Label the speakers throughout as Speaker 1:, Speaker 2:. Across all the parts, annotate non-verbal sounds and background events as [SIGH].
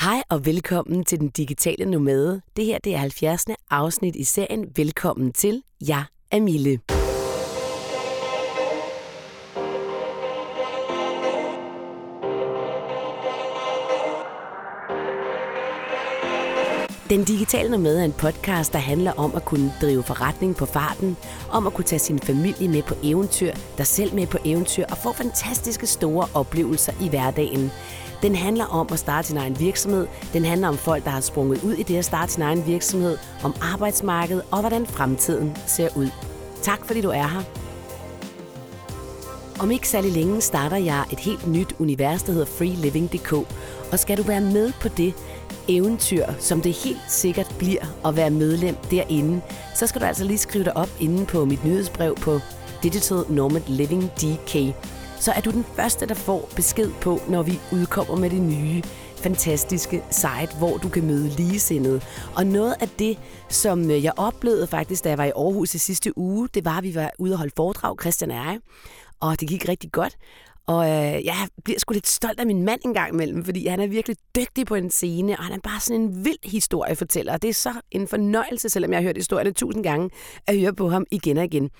Speaker 1: Hej og velkommen til Den Digitale Nomade. Det her det er 70. afsnit i serien Velkommen til. Jeg er Mille. Den Digitale Nomade er en podcast, der handler om at kunne drive forretning på farten, om at kunne tage sin familie med på eventyr, dig selv med på eventyr og få fantastiske store oplevelser i hverdagen. Den handler om at starte sin egen virksomhed. Den handler om folk, der har sprunget ud i det at starte sin egen virksomhed, om arbejdsmarkedet og hvordan fremtiden ser ud. Tak fordi du er her. Om ikke særlig længe starter jeg et helt nyt univers, der hedder freeliving.dk. Og skal du være med på det eventyr, som det helt sikkert bliver at være medlem derinde, så skal du altså lige skrive dig op inde på mit nyhedsbrev på Digital Nomad Living DK. Så er du den første, der får besked på, når vi udkommer med det nye fantastiske site, hvor du kan møde ligesindede. Og noget af det, som øh, jeg oplevede faktisk, da jeg var i Aarhus i sidste uge, det var, at vi var ude og holde foredrag, Christian og jeg, og det gik rigtig godt. Og øh, jeg bliver sgu lidt stolt af min mand en gang imellem, fordi han er virkelig dygtig på en scene, og han er bare sådan en vild historiefortæller. Og det er så en fornøjelse, selvom jeg har hørt historierne tusind gange, at høre på ham igen og igen.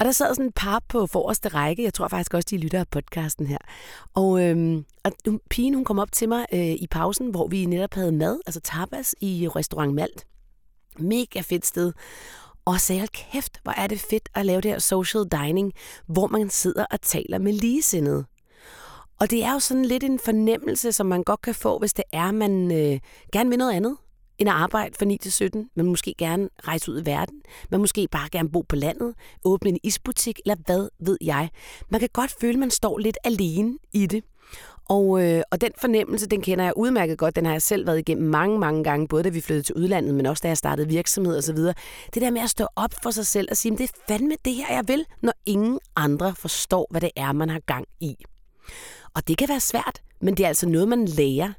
Speaker 1: Og der sad sådan et par på forreste række, jeg tror faktisk også, de lytter af podcasten her. Og, øhm, og hun- pigen, hun kom op til mig øh, i pausen, hvor vi netop havde mad, altså tapas, i restaurant Malt. Mega fedt sted. Og sagde, "Hold kæft, hvor er det fedt at lave det her social dining, hvor man sidder og taler med ligesindede. Og det er jo sådan lidt en fornemmelse, som man godt kan få, hvis det er, man øh, gerne vil noget andet end at arbejde fra 9 til 17. Man måske gerne rejse ud i verden. Man måske bare gerne bo på landet, åbne en isbutik, eller hvad ved jeg. Man kan godt føle, at man står lidt alene i det. Og, øh, og den fornemmelse, den kender jeg udmærket godt. Den har jeg selv været igennem mange, mange gange, både da vi flyttede til udlandet, men også da jeg startede virksomhed osv. Det der med at stå op for sig selv og sige, "Men det er fandme det her, jeg vil, når ingen andre forstår, hvad det er, man har gang i. Og det kan være svært, men det er altså noget, man lærer.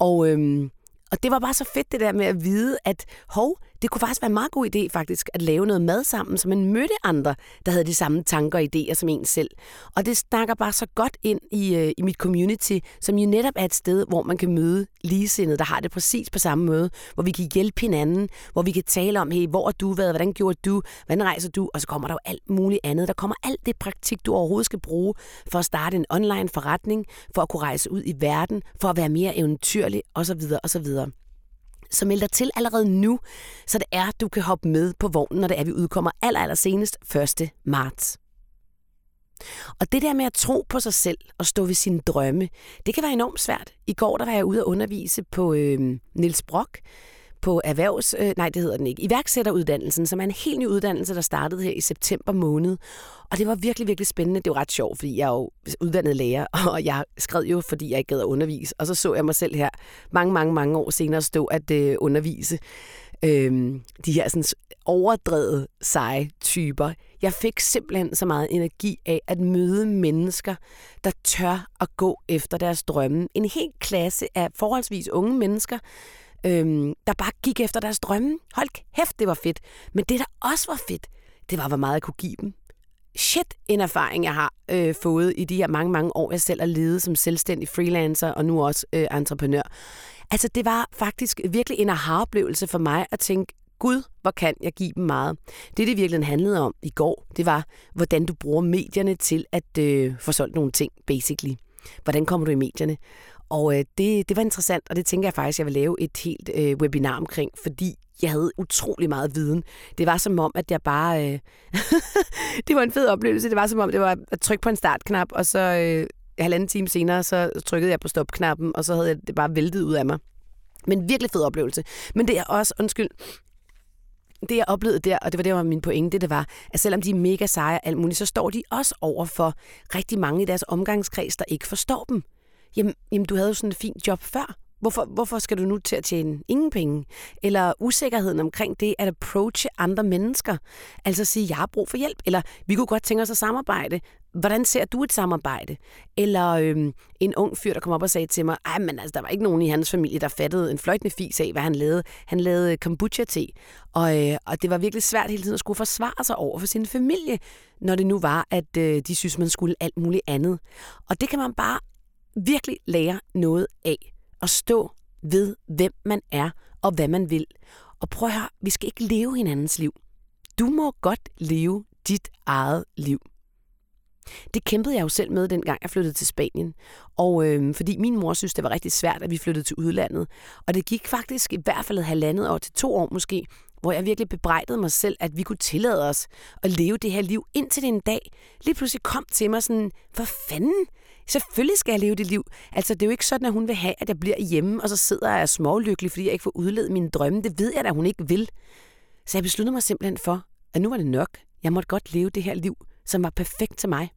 Speaker 1: Og, øhm, og det var bare så fedt det der med at vide, at hov, det kunne faktisk være en meget god idé faktisk at lave noget mad sammen, så man mødte andre, der havde de samme tanker og idéer som en selv. Og det snakker bare så godt ind i, øh, i mit community, som jo netop er et sted, hvor man kan møde ligesindede, der har det præcis på samme måde, hvor vi kan hjælpe hinanden, hvor vi kan tale om, hey, hvor har du været, hvordan gjorde du, hvordan rejser du, og så kommer der jo alt muligt andet. Der kommer alt det praktik, du overhovedet skal bruge for at starte en online forretning, for at kunne rejse ud i verden, for at være mere eventyrlig osv. osv så meld dig til allerede nu, så det er, at du kan hoppe med på vognen, når det er, vi udkommer aller, aller senest 1. marts. Og det der med at tro på sig selv og stå ved sine drømme, det kan være enormt svært. I går der var jeg ude at undervise på øh, Nils Brock, på erhvervs... Øh, nej, det hedder den ikke. Iværksætteruddannelsen, som er en helt ny uddannelse, der startede her i september måned. Og det var virkelig, virkelig spændende. Det var ret sjovt, fordi jeg er jo uddannet lærer, [LAUGHS] og jeg skred jo, fordi jeg ikke gad at undervise. Og så så jeg mig selv her mange, mange, mange år senere stå at øh, undervise øhm, de her sådan overdrevet seje typer. Jeg fik simpelthen så meget energi af at møde mennesker, der tør at gå efter deres drømme. En hel klasse af forholdsvis unge mennesker, øhm, der bare gik efter deres drømme. Hold kæft, det var fedt. Men det, der også var fedt, det var, hvor meget jeg kunne give dem shit en erfaring, jeg har øh, fået i de her mange, mange år, jeg selv har levet som selvstændig freelancer og nu også øh, entreprenør. Altså, det var faktisk virkelig en aha-oplevelse for mig at tænke, Gud, hvor kan jeg give dem meget. Det, det virkelig handlede om i går, det var, hvordan du bruger medierne til at øh, få solgt nogle ting, basically. Hvordan kommer du i medierne? Og øh, det, det var interessant, og det tænker jeg faktisk, jeg vil lave et helt øh, webinar omkring, fordi jeg havde utrolig meget viden. Det var som om, at jeg bare... Øh, [LAUGHS] det var en fed oplevelse. Det var som om, det var at trykke på en startknap, og så øh, halvanden time senere, så trykkede jeg på stopknappen, og så havde jeg det bare væltet ud af mig. Men virkelig fed oplevelse. Men det er også, undskyld, det jeg oplevede der, og det var det, der var min pointe, det var, at selvom de er mega seje og alt muligt, så står de også over for rigtig mange i deres omgangskreds, der ikke forstår dem. Jamen, jamen du havde jo sådan et fint job før. Hvorfor, hvorfor skal du nu til at tjene ingen penge? Eller usikkerheden omkring det at approache andre mennesker. Altså sige, jeg har brug for hjælp. Eller vi kunne godt tænke os at samarbejde. Hvordan ser du et samarbejde? Eller øhm, en ung fyr, der kom op og sagde til mig, ej, men altså, der var ikke nogen i hans familie, der fattede en fløjtende fis af, hvad han lavede. Han lavede kombucha-te. Og, øh, og det var virkelig svært hele tiden at skulle forsvare sig over for sin familie, når det nu var, at øh, de synes, man skulle alt muligt andet. Og det kan man bare virkelig lære noget af at stå ved, hvem man er og hvad man vil. Og prøv at høre, vi skal ikke leve hinandens liv. Du må godt leve dit eget liv. Det kæmpede jeg jo selv med, dengang jeg flyttede til Spanien. Og øh, fordi min mor synes, det var rigtig svært, at vi flyttede til udlandet. Og det gik faktisk i hvert fald et halvandet år til to år måske, hvor jeg virkelig bebrejdede mig selv, at vi kunne tillade os at leve det her liv, indtil det en dag lige pludselig kom til mig sådan, for fanden, selvfølgelig skal jeg leve det liv. Altså, det er jo ikke sådan, at hun vil have, at jeg bliver hjemme, og så sidder jeg smålykkelig, fordi jeg ikke får udledt mine drømme. Det ved jeg da, hun ikke vil. Så jeg besluttede mig simpelthen for, at nu var det nok. Jeg måtte godt leve det her liv, som var perfekt til mig.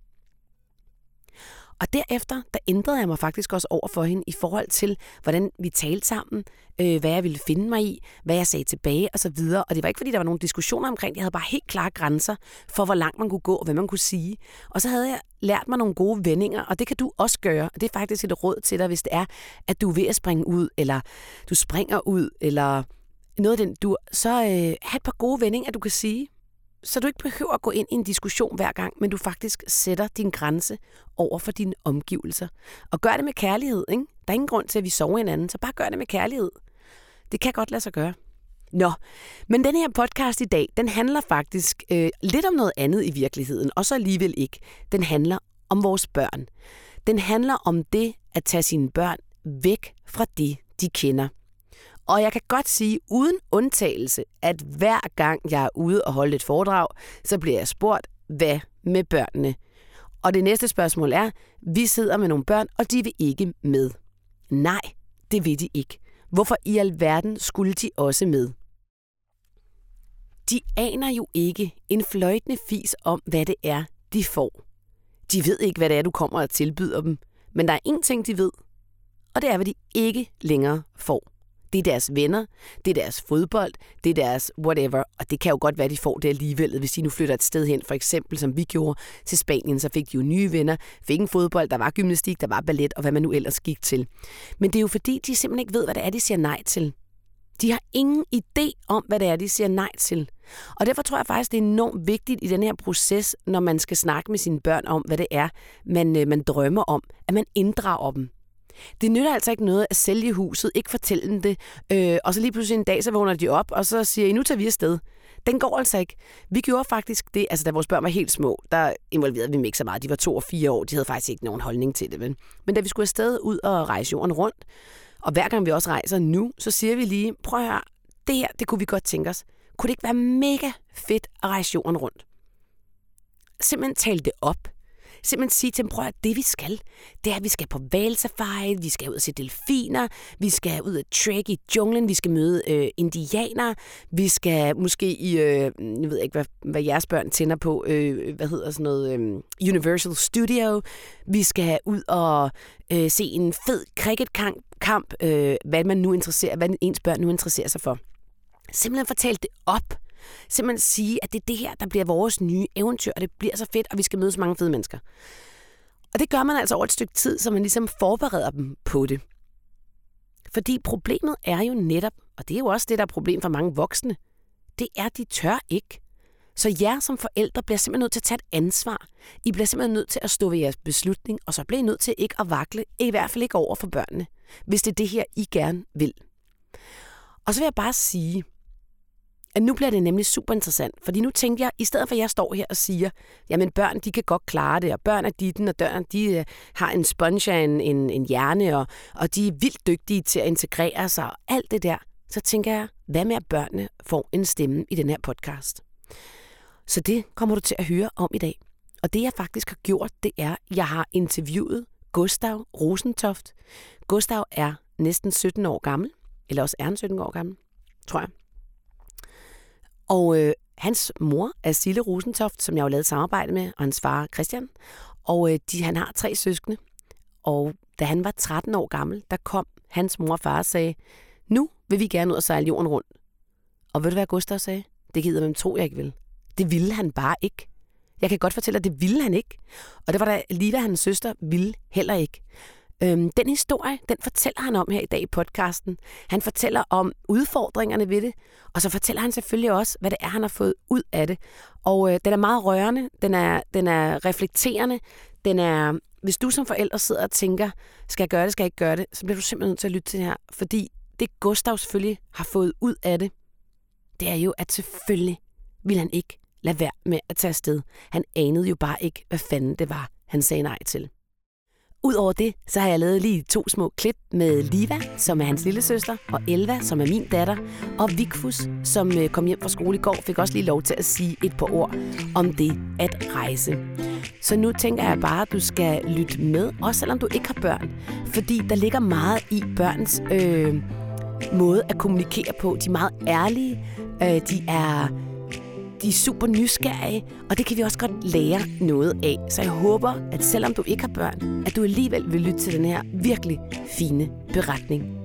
Speaker 1: Og derefter, der ændrede jeg mig faktisk også over for hende i forhold til, hvordan vi talte sammen, øh, hvad jeg ville finde mig i, hvad jeg sagde tilbage og så videre. Og det var ikke, fordi der var nogle diskussioner omkring det. Jeg havde bare helt klare grænser for, hvor langt man kunne gå og hvad man kunne sige. Og så havde jeg lært mig nogle gode vendinger, og det kan du også gøre. Og det er faktisk et råd til dig, hvis det er, at du er ved at springe ud, eller du springer ud, eller noget af den du, så øh, have et par gode vendinger, du kan sige så du ikke behøver at gå ind i en diskussion hver gang, men du faktisk sætter din grænse over for dine omgivelser. Og gør det med kærlighed, ikke? Der er ingen grund til, at vi sover hinanden, så bare gør det med kærlighed. Det kan godt lade sig gøre. Nå, men den her podcast i dag, den handler faktisk øh, lidt om noget andet i virkeligheden, og så alligevel ikke. Den handler om vores børn. Den handler om det at tage sine børn væk fra det, de kender. Og jeg kan godt sige uden undtagelse, at hver gang jeg er ude og holde et foredrag, så bliver jeg spurgt, hvad med børnene? Og det næste spørgsmål er, vi sidder med nogle børn, og de vil ikke med. Nej, det vil de ikke. Hvorfor i alverden skulle de også med? De aner jo ikke en fløjtende fis om, hvad det er, de får. De ved ikke, hvad det er, du kommer og tilbyder dem. Men der er én ting, de ved, og det er, hvad de ikke længere får. Det er deres venner, det er deres fodbold, det er deres whatever. Og det kan jo godt være, de får det alligevel, hvis de nu flytter et sted hen. For eksempel, som vi gjorde til Spanien, så fik de jo nye venner, fik en fodbold, der var gymnastik, der var ballet og hvad man nu ellers gik til. Men det er jo fordi, de simpelthen ikke ved, hvad det er, de siger nej til. De har ingen idé om, hvad det er, de siger nej til. Og derfor tror jeg faktisk, det er enormt vigtigt i den her proces, når man skal snakke med sine børn om, hvad det er, man, øh, man drømmer om, at man inddrager dem. Det nytter altså ikke noget at sælge huset, ikke fortælle dem det, øh, og så lige pludselig en dag, så vågner de op, og så siger I, nu tager vi afsted. Den går altså ikke. Vi gjorde faktisk det, altså da vores børn var helt små, der involverede vi dem ikke så meget. De var to og fire år, de havde faktisk ikke nogen holdning til det. Men, men da vi skulle afsted ud og rejse jorden rundt, og hver gang vi også rejser nu, så siger vi lige, prøv at høre, det her, det kunne vi godt tænke os. Kunne det ikke være mega fedt at rejse jorden rundt? Simpelthen tale det op simpelthen sige til dem, prøv at det vi skal, det er, at vi skal på valsafari, vi skal ud og se delfiner, vi skal ud og trek i junglen, vi skal møde øh, indianere, vi skal måske i, øh, jeg ved ikke, hvad, hvad jeres børn tænder på, øh, hvad hedder sådan noget, øh, Universal Studio, vi skal ud og øh, se en fed cricketkamp, kamp, øh, hvad man nu interesserer, hvad ens børn nu interesserer sig for. Simpelthen fortæl det op. Simpelthen sige, at det er det her, der bliver vores nye eventyr, og det bliver så fedt, og vi skal møde så mange fede mennesker. Og det gør man altså over et stykke tid, så man ligesom forbereder dem på det. Fordi problemet er jo netop, og det er jo også det, der er problem for mange voksne, det er, at de tør ikke. Så jer som forældre bliver simpelthen nødt til at tage et ansvar. I bliver simpelthen nødt til at stå ved jeres beslutning, og så bliver I nødt til ikke at vakle, i hvert fald ikke over for børnene, hvis det er det her, I gerne vil. Og så vil jeg bare sige, at nu bliver det nemlig super interessant, fordi nu tænker jeg, i stedet for at jeg står her og siger, jamen børn, de kan godt klare det, og børn er ditten, og døren, de øh, har en sponge af en, en, en hjerne, og, og de er vildt dygtige til at integrere sig, og alt det der, så tænker jeg, hvad med at børnene får en stemme i den her podcast? Så det kommer du til at høre om i dag. Og det jeg faktisk har gjort, det er, at jeg har interviewet Gustav Rosentoft. Gustav er næsten 17 år gammel, eller også er han 17 år gammel, tror jeg. Og øh, hans mor er Sille Rosentoft, som jeg jo lavede samarbejde med, og hans far Christian. Og øh, de, han har tre søskende. Og da han var 13 år gammel, der kom hans mor og far og sagde, nu vil vi gerne ud og sejle jorden rundt. Og ved du hvad Gustav sagde? Det gider hvem tro jeg ikke vil. Det ville han bare ikke. Jeg kan godt fortælle dig, det ville han ikke. Og det var da Lila, hans søster, ville heller ikke. Øhm, den historie, den fortæller han om her i dag i podcasten. Han fortæller om udfordringerne ved det, og så fortæller han selvfølgelig også, hvad det er, han har fået ud af det. Og øh, den er meget rørende, den er, den er reflekterende, den er... Hvis du som forælder sidder og tænker, skal jeg gøre det, skal jeg ikke gøre det, så bliver du simpelthen nødt til at lytte til det her, fordi
Speaker 2: det Gustav selvfølgelig har fået ud af det, det er jo, at selvfølgelig ville han ikke lade være med at tage afsted. Han anede jo bare ikke, hvad fanden det var, han sagde nej til. Udover det, så har jeg lavet lige to små klip med Liva, som er hans lille søster, og Elva, som er min datter, og Vigfus, som øh, kom hjem fra skole i går, fik også lige lov til at sige et par ord om det at rejse. Så nu tænker jeg bare, at du skal lytte med, også selvom du ikke har børn, fordi der ligger meget i børns øh, måde at kommunikere på. De er meget ærlige, øh, de er de er super nysgerrige, og det kan vi også godt lære noget af. Så jeg håber, at selvom du ikke har børn, at du alligevel vil lytte til den her virkelig fine beretning.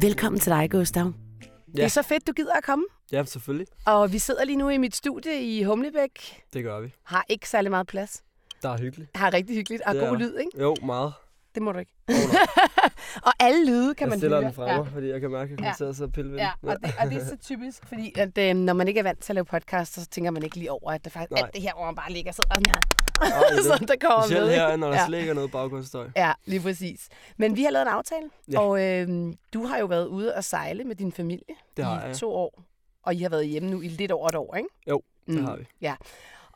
Speaker 2: Velkommen til dig, Gustav.
Speaker 1: Ja. Det er så fedt, du gider at komme.
Speaker 3: Ja, selvfølgelig.
Speaker 1: Og vi sidder lige nu i mit studie i Humlebæk.
Speaker 3: Det gør vi.
Speaker 1: Har ikke særlig meget plads.
Speaker 3: Der er hyggeligt.
Speaker 1: Har rigtig hyggeligt og
Speaker 3: Det er
Speaker 1: god
Speaker 3: der.
Speaker 1: lyd, ikke?
Speaker 3: Jo, meget.
Speaker 1: Det må du ikke.
Speaker 3: Oh,
Speaker 1: [LAUGHS] Og alle lyde kan
Speaker 3: jeg
Speaker 1: man
Speaker 3: stiller
Speaker 1: høre.
Speaker 3: den fremme, ja. fordi jeg kan mærke, at jeg kommer
Speaker 1: Ja.
Speaker 3: til at sidde og pille ved
Speaker 1: Ja,
Speaker 3: den.
Speaker 1: og det, og det er så typisk, fordi at, øh, når man ikke er vant til at lave podcast, så tænker man ikke lige over, at det faktisk
Speaker 3: Nej.
Speaker 1: alt det her, hvor man bare ligger og sidder og...
Speaker 3: Ej,
Speaker 1: [LAUGHS]
Speaker 3: det-
Speaker 1: Så der kommer
Speaker 3: Specielt
Speaker 1: med, ikke?
Speaker 3: her, når der
Speaker 1: Ja.
Speaker 3: ja. slet ikke er noget baggrundsstøj.
Speaker 1: Ja, lige præcis. Men vi har lavet en aftale, ja.
Speaker 3: Ja.
Speaker 1: og øh, du har jo været ude og sejle med din familie
Speaker 3: Det har
Speaker 1: i
Speaker 3: jeg.
Speaker 1: to år, og I har været hjemme nu i lidt over et år, ikke?
Speaker 3: Jo, det har vi.
Speaker 1: Ja.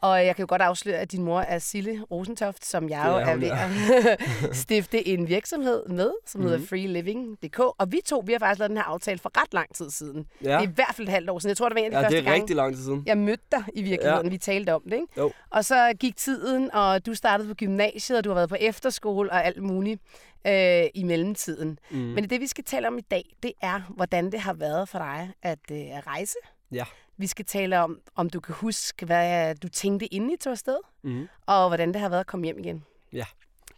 Speaker 1: Og jeg kan jo godt afsløre, at din mor er Sille Rosentoft, som jeg
Speaker 3: Det
Speaker 1: jo
Speaker 3: er
Speaker 1: er
Speaker 3: hun,
Speaker 1: ved
Speaker 3: ja. Mhm.
Speaker 1: at [LAUGHS] stifte en virksomhed med, som hedder mm-hmm. freeliving.dk. Og vi to, vi har faktisk lavet den her aftale for ret lang tid siden.
Speaker 3: Ja.
Speaker 1: Det er i hvert fald et halvt år siden. Jeg tror, det var en af de
Speaker 3: Ja,
Speaker 1: første
Speaker 3: det er
Speaker 1: gange,
Speaker 3: rigtig lang tid siden.
Speaker 1: jeg mødte dig i virkeligheden. Ja. Vi talte om det, ikke?
Speaker 3: Jo.
Speaker 1: Og så gik tiden, og du startede på gymnasiet, og du har været på efterskole og alt muligt øh, i mellemtiden. Mm. Men det, vi skal tale om i dag, det er, hvordan det har været for dig at, øh, at rejse.
Speaker 3: Ja.
Speaker 1: Vi skal tale om, om du kan huske, hvad du tænkte, inden I tog afsted,
Speaker 3: Mhm.
Speaker 1: og hvordan det har været at komme hjem igen.
Speaker 3: Ja.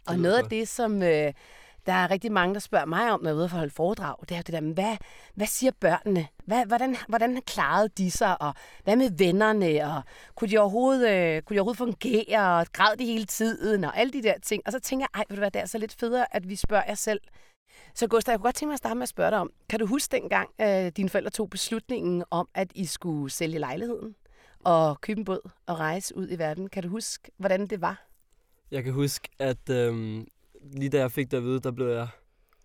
Speaker 1: Og
Speaker 3: lyder
Speaker 1: noget af
Speaker 3: godt.
Speaker 1: det, som øh, der er rigtig mange, der spørger mig om, når jeg er ude for at holde foredrag, det er jo det der med, hvad, hvad siger børnene? Hvad, hvordan, hvordan klarede de sig? Og hvad med vennerne? Og kunne de overhovedet, øh, kunne de overhovedet fungere? Og græd de hele tiden? Og alle de der ting. Og så tænker jeg, ej, ved du hvad, det er altså lidt federe, at vi spørger jer selv. Så Gustav, jeg kunne godt tænke mig at starte med at spørge dig om, kan du huske dengang, øh, dine forældre tog beslutningen om, at I skulle sælge lejligheden og købe en båd og rejse ud i verden? Kan du huske, hvordan det var?
Speaker 3: Jeg kan huske, at øhm, lige da jeg fik det at vide, der blev jeg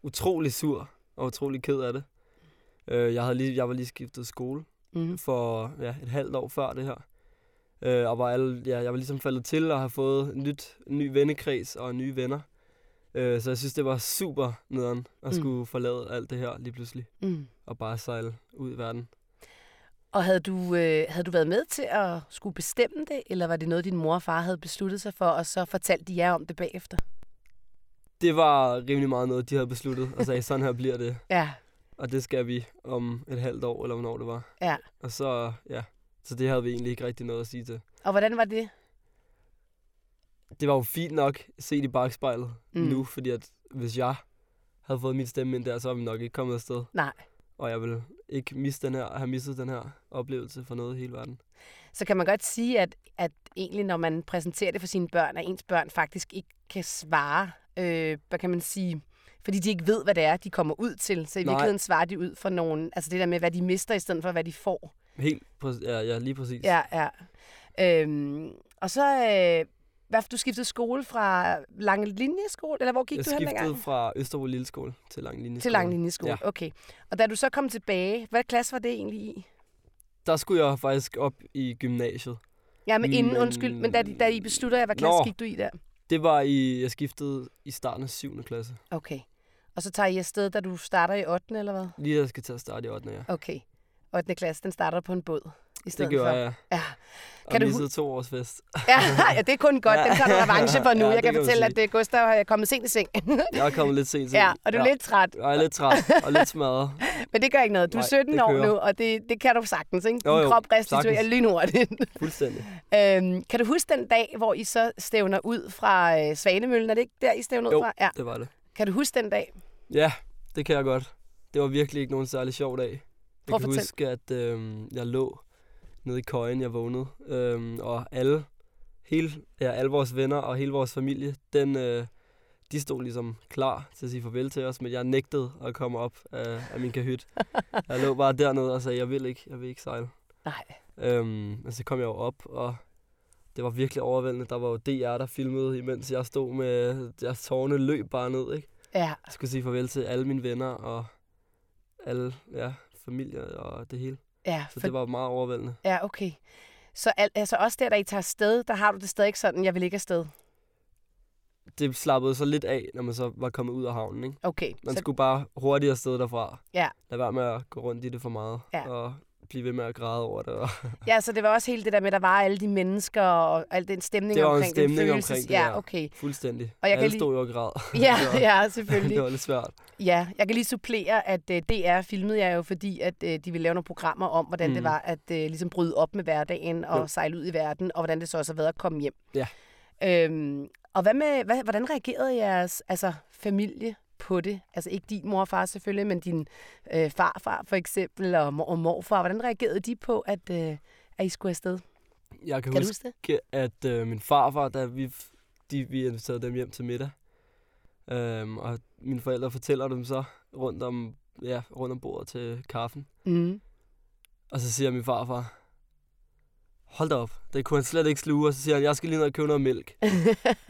Speaker 3: utrolig sur og utrolig ked af det. Øh, jeg, havde lige, jeg var lige skiftet skole
Speaker 1: Mm.
Speaker 3: for ja, et halvt år før det her. Øh, og var alle, ja, jeg var ligesom faldet til og har fået nyt, ny vennekreds og nye venner. Øh, så jeg synes, det var super nederen at
Speaker 1: Mm.
Speaker 3: skulle forlade alt det her lige pludselig
Speaker 1: Mm.
Speaker 3: og bare sejle ud i verden.
Speaker 1: Og havde du, øh, havde du været med til at skulle bestemme det, eller var det noget, din mor og far havde besluttet sig for, og så fortalte de jer om det bagefter?
Speaker 3: Det var rimelig meget noget, de havde besluttet og
Speaker 1: [LAUGHS]
Speaker 3: sagde, sådan her bliver det.
Speaker 1: Ja,
Speaker 3: Og det skal vi om et halvt år, eller hvornår det var.
Speaker 1: ja.
Speaker 3: Og så, ja, så det havde vi egentlig ikke rigtig noget at sige til.
Speaker 1: Og hvordan var det?
Speaker 3: Det var jo fint nok set i bagspejlet
Speaker 1: Mm.
Speaker 3: mm. nu, fordi at hvis jeg havde fået min stemme ind der, så var vi nok ikke kommet afsted.
Speaker 1: Nej.
Speaker 3: Og jeg ville ikke miste den her, have mistet den her oplevelse for noget i hele verden.
Speaker 1: Så kan man godt sige, at, at egentlig, når man præsenterer det for sine børn, at ens børn faktisk ikke kan svare, øh, hvad kan man sige, fordi de ikke ved, hvad det er, de kommer ud til. Så i
Speaker 3: Nej.
Speaker 1: virkeligheden svarer de ud for nogen, altså det der med, hvad de mister, i stedet for, hvad de får.
Speaker 3: Helt præ- ja, ja, lige præcis.
Speaker 1: Ja, ja. Øhm, og så, øh, hvad, du skiftede skole fra Lange Linjeskole, eller hvor gik
Speaker 3: jeg
Speaker 1: du hen dengang?
Speaker 3: skiftede fra Østerbro Lilleskole til Lang Linjeskole.
Speaker 1: Til langlinjeskole, ja.
Speaker 3: Ja.
Speaker 1: okay. Og da du så kom tilbage, hvad klasse var det egentlig i?
Speaker 3: Der skulle jeg faktisk op i gymnasiet.
Speaker 1: Ja, men inden,
Speaker 3: Men-
Speaker 1: undskyld, men da, de- da I beslutter jer, hvad klasse
Speaker 3: Nå.
Speaker 1: gik du i der?
Speaker 3: Det var i, jeg skiftede i starten af 7. klasse.
Speaker 1: Okay. Og så tager I afsted, da du starter i 8. eller hvad?
Speaker 3: Lige da jeg skal til at starte i 8. Ja.
Speaker 1: Okay. 8. klasse, den starter på en båd i stedet
Speaker 3: Det gjorde
Speaker 1: for.
Speaker 3: jeg.
Speaker 1: Ja. Kan
Speaker 3: Og kan
Speaker 1: du hu-
Speaker 3: missede to års fest.
Speaker 1: Ja, [LAUGHS] ja, det er kun godt. Den tager du revanche
Speaker 3: [LAUGHS]
Speaker 1: for nu.
Speaker 3: Ja,
Speaker 1: Ja, jeg
Speaker 3: det
Speaker 1: kan
Speaker 3: kan man
Speaker 1: fortælle,
Speaker 3: sige.
Speaker 1: at øh, Gustav er kommet sent i seng. [LAUGHS]
Speaker 3: Jeg er kommet lidt sent.
Speaker 1: ja, og du er lidt træt.
Speaker 3: Jeg er lidt træt og lidt
Speaker 1: [LAUGHS]
Speaker 3: smadret.
Speaker 1: Men det gør ikke noget. Du er
Speaker 3: Nej,
Speaker 1: 17
Speaker 3: det
Speaker 1: år
Speaker 3: kører.
Speaker 1: nu, og det, det kan du sagtens, ikke? Din
Speaker 3: Jo, jo,
Speaker 1: krop restituerer
Speaker 3: sagtens.
Speaker 1: lynhurtigt.
Speaker 3: Fuldstændig.
Speaker 1: Øhm, kan du huske den dag, hvor I så stævner ud fra øh, Svanemøllen? Er det ikke der, I stævner ud
Speaker 3: Jo.
Speaker 1: fra? Ja.
Speaker 3: Det var det.
Speaker 1: Kan du huske den dag?
Speaker 3: Ja, det kan jeg godt. Det var virkelig ikke nogen særlig sjov dag. Jeg
Speaker 1: Prøv at
Speaker 3: kan
Speaker 1: fortæl.
Speaker 3: huske, at øh, jeg lå nede i køjen, jeg vågnede. Øh, og alle, hele, ja, alle vores venner og hele vores familie, den, øh, de stod ligesom klar til at sige farvel til os, men jeg nægtede at komme op af, af min kahyt. Jeg lå bare dernede og sagde, jeg vil ikke, jeg vil ikke sejle.
Speaker 1: Nej.
Speaker 3: Øhm, og så kom jeg jo op, og det var virkelig overvældende. Der var jo DR, der filmede, imens jeg stod med... Jeg tårne løb bare ned, ikke?
Speaker 1: Ja.
Speaker 3: Jeg skulle sige farvel til alle mine venner, og alle ja, familier og det hele.
Speaker 1: Ja,
Speaker 3: Så det var meget overvældende.
Speaker 1: ja okay. Så al, altså også der, da I tager afsted, der har du det stadig ikke sådan, jeg vil ikke afsted.
Speaker 3: Det slappede så lidt af, når man så var kommet ud af havnen. Ikke?
Speaker 1: Okay,
Speaker 3: Man
Speaker 1: så,
Speaker 3: skulle bare hurtigere afsted derfra.
Speaker 1: Ja.
Speaker 3: Lad være med at gå rundt i det for meget.
Speaker 1: Ja.
Speaker 3: Og blive ved med at græde over det. Og [LAUGHS]
Speaker 1: ja, så det var også hele det der med, at der var alle de mennesker og al den stemning
Speaker 3: Det var en
Speaker 1: omkring den
Speaker 3: stemning
Speaker 1: følelse.
Speaker 3: omkring det,
Speaker 1: ja,
Speaker 3: ja.
Speaker 1: okay.
Speaker 3: fuldstændig.
Speaker 1: Og jeg kan
Speaker 3: alle
Speaker 1: lige-
Speaker 3: stod jo og
Speaker 1: [LAUGHS]
Speaker 3: græd.
Speaker 1: Ja,
Speaker 3: [LAUGHS] Det var-
Speaker 1: ja,
Speaker 3: det
Speaker 1: selvfølgelig.
Speaker 3: var lidt svært.
Speaker 1: Ja, jeg kan lige supplere, at øh, DR filmede jeg jo, fordi at øh, de ville lave nogle programmer om, hvordan mm. det
Speaker 3: Mm.
Speaker 1: var at øh, ligesom bryde op med hverdagen og
Speaker 3: Jo.
Speaker 1: sejle ud i verden, og hvordan det så også har været at komme hjem.
Speaker 3: Ja.
Speaker 1: Øhm, og hvad med, hvad, hvordan reagerede jeres altså, familie på det? Altså ikke din mor og far selvfølgelig, men din øh, farfar for eksempel, og, mor og morfar. Hvordan reagerede de på, at, øh, at I skulle afsted?
Speaker 3: Jeg kan,
Speaker 1: Kan du
Speaker 3: huske,
Speaker 1: huske det?
Speaker 3: huske, at øh, min farfar, da vi, de, vi inviterede dem hjem til middag, øhm, og mine forældre fortæller dem så rundt om, ja, rundt om bordet til kaffen.
Speaker 1: Mm. [LAUGHS]
Speaker 3: Og så siger min farfar, hold da op, det kunne han slet ikke sluge. Og så siger han, jeg skal lige ned og købe noget mælk.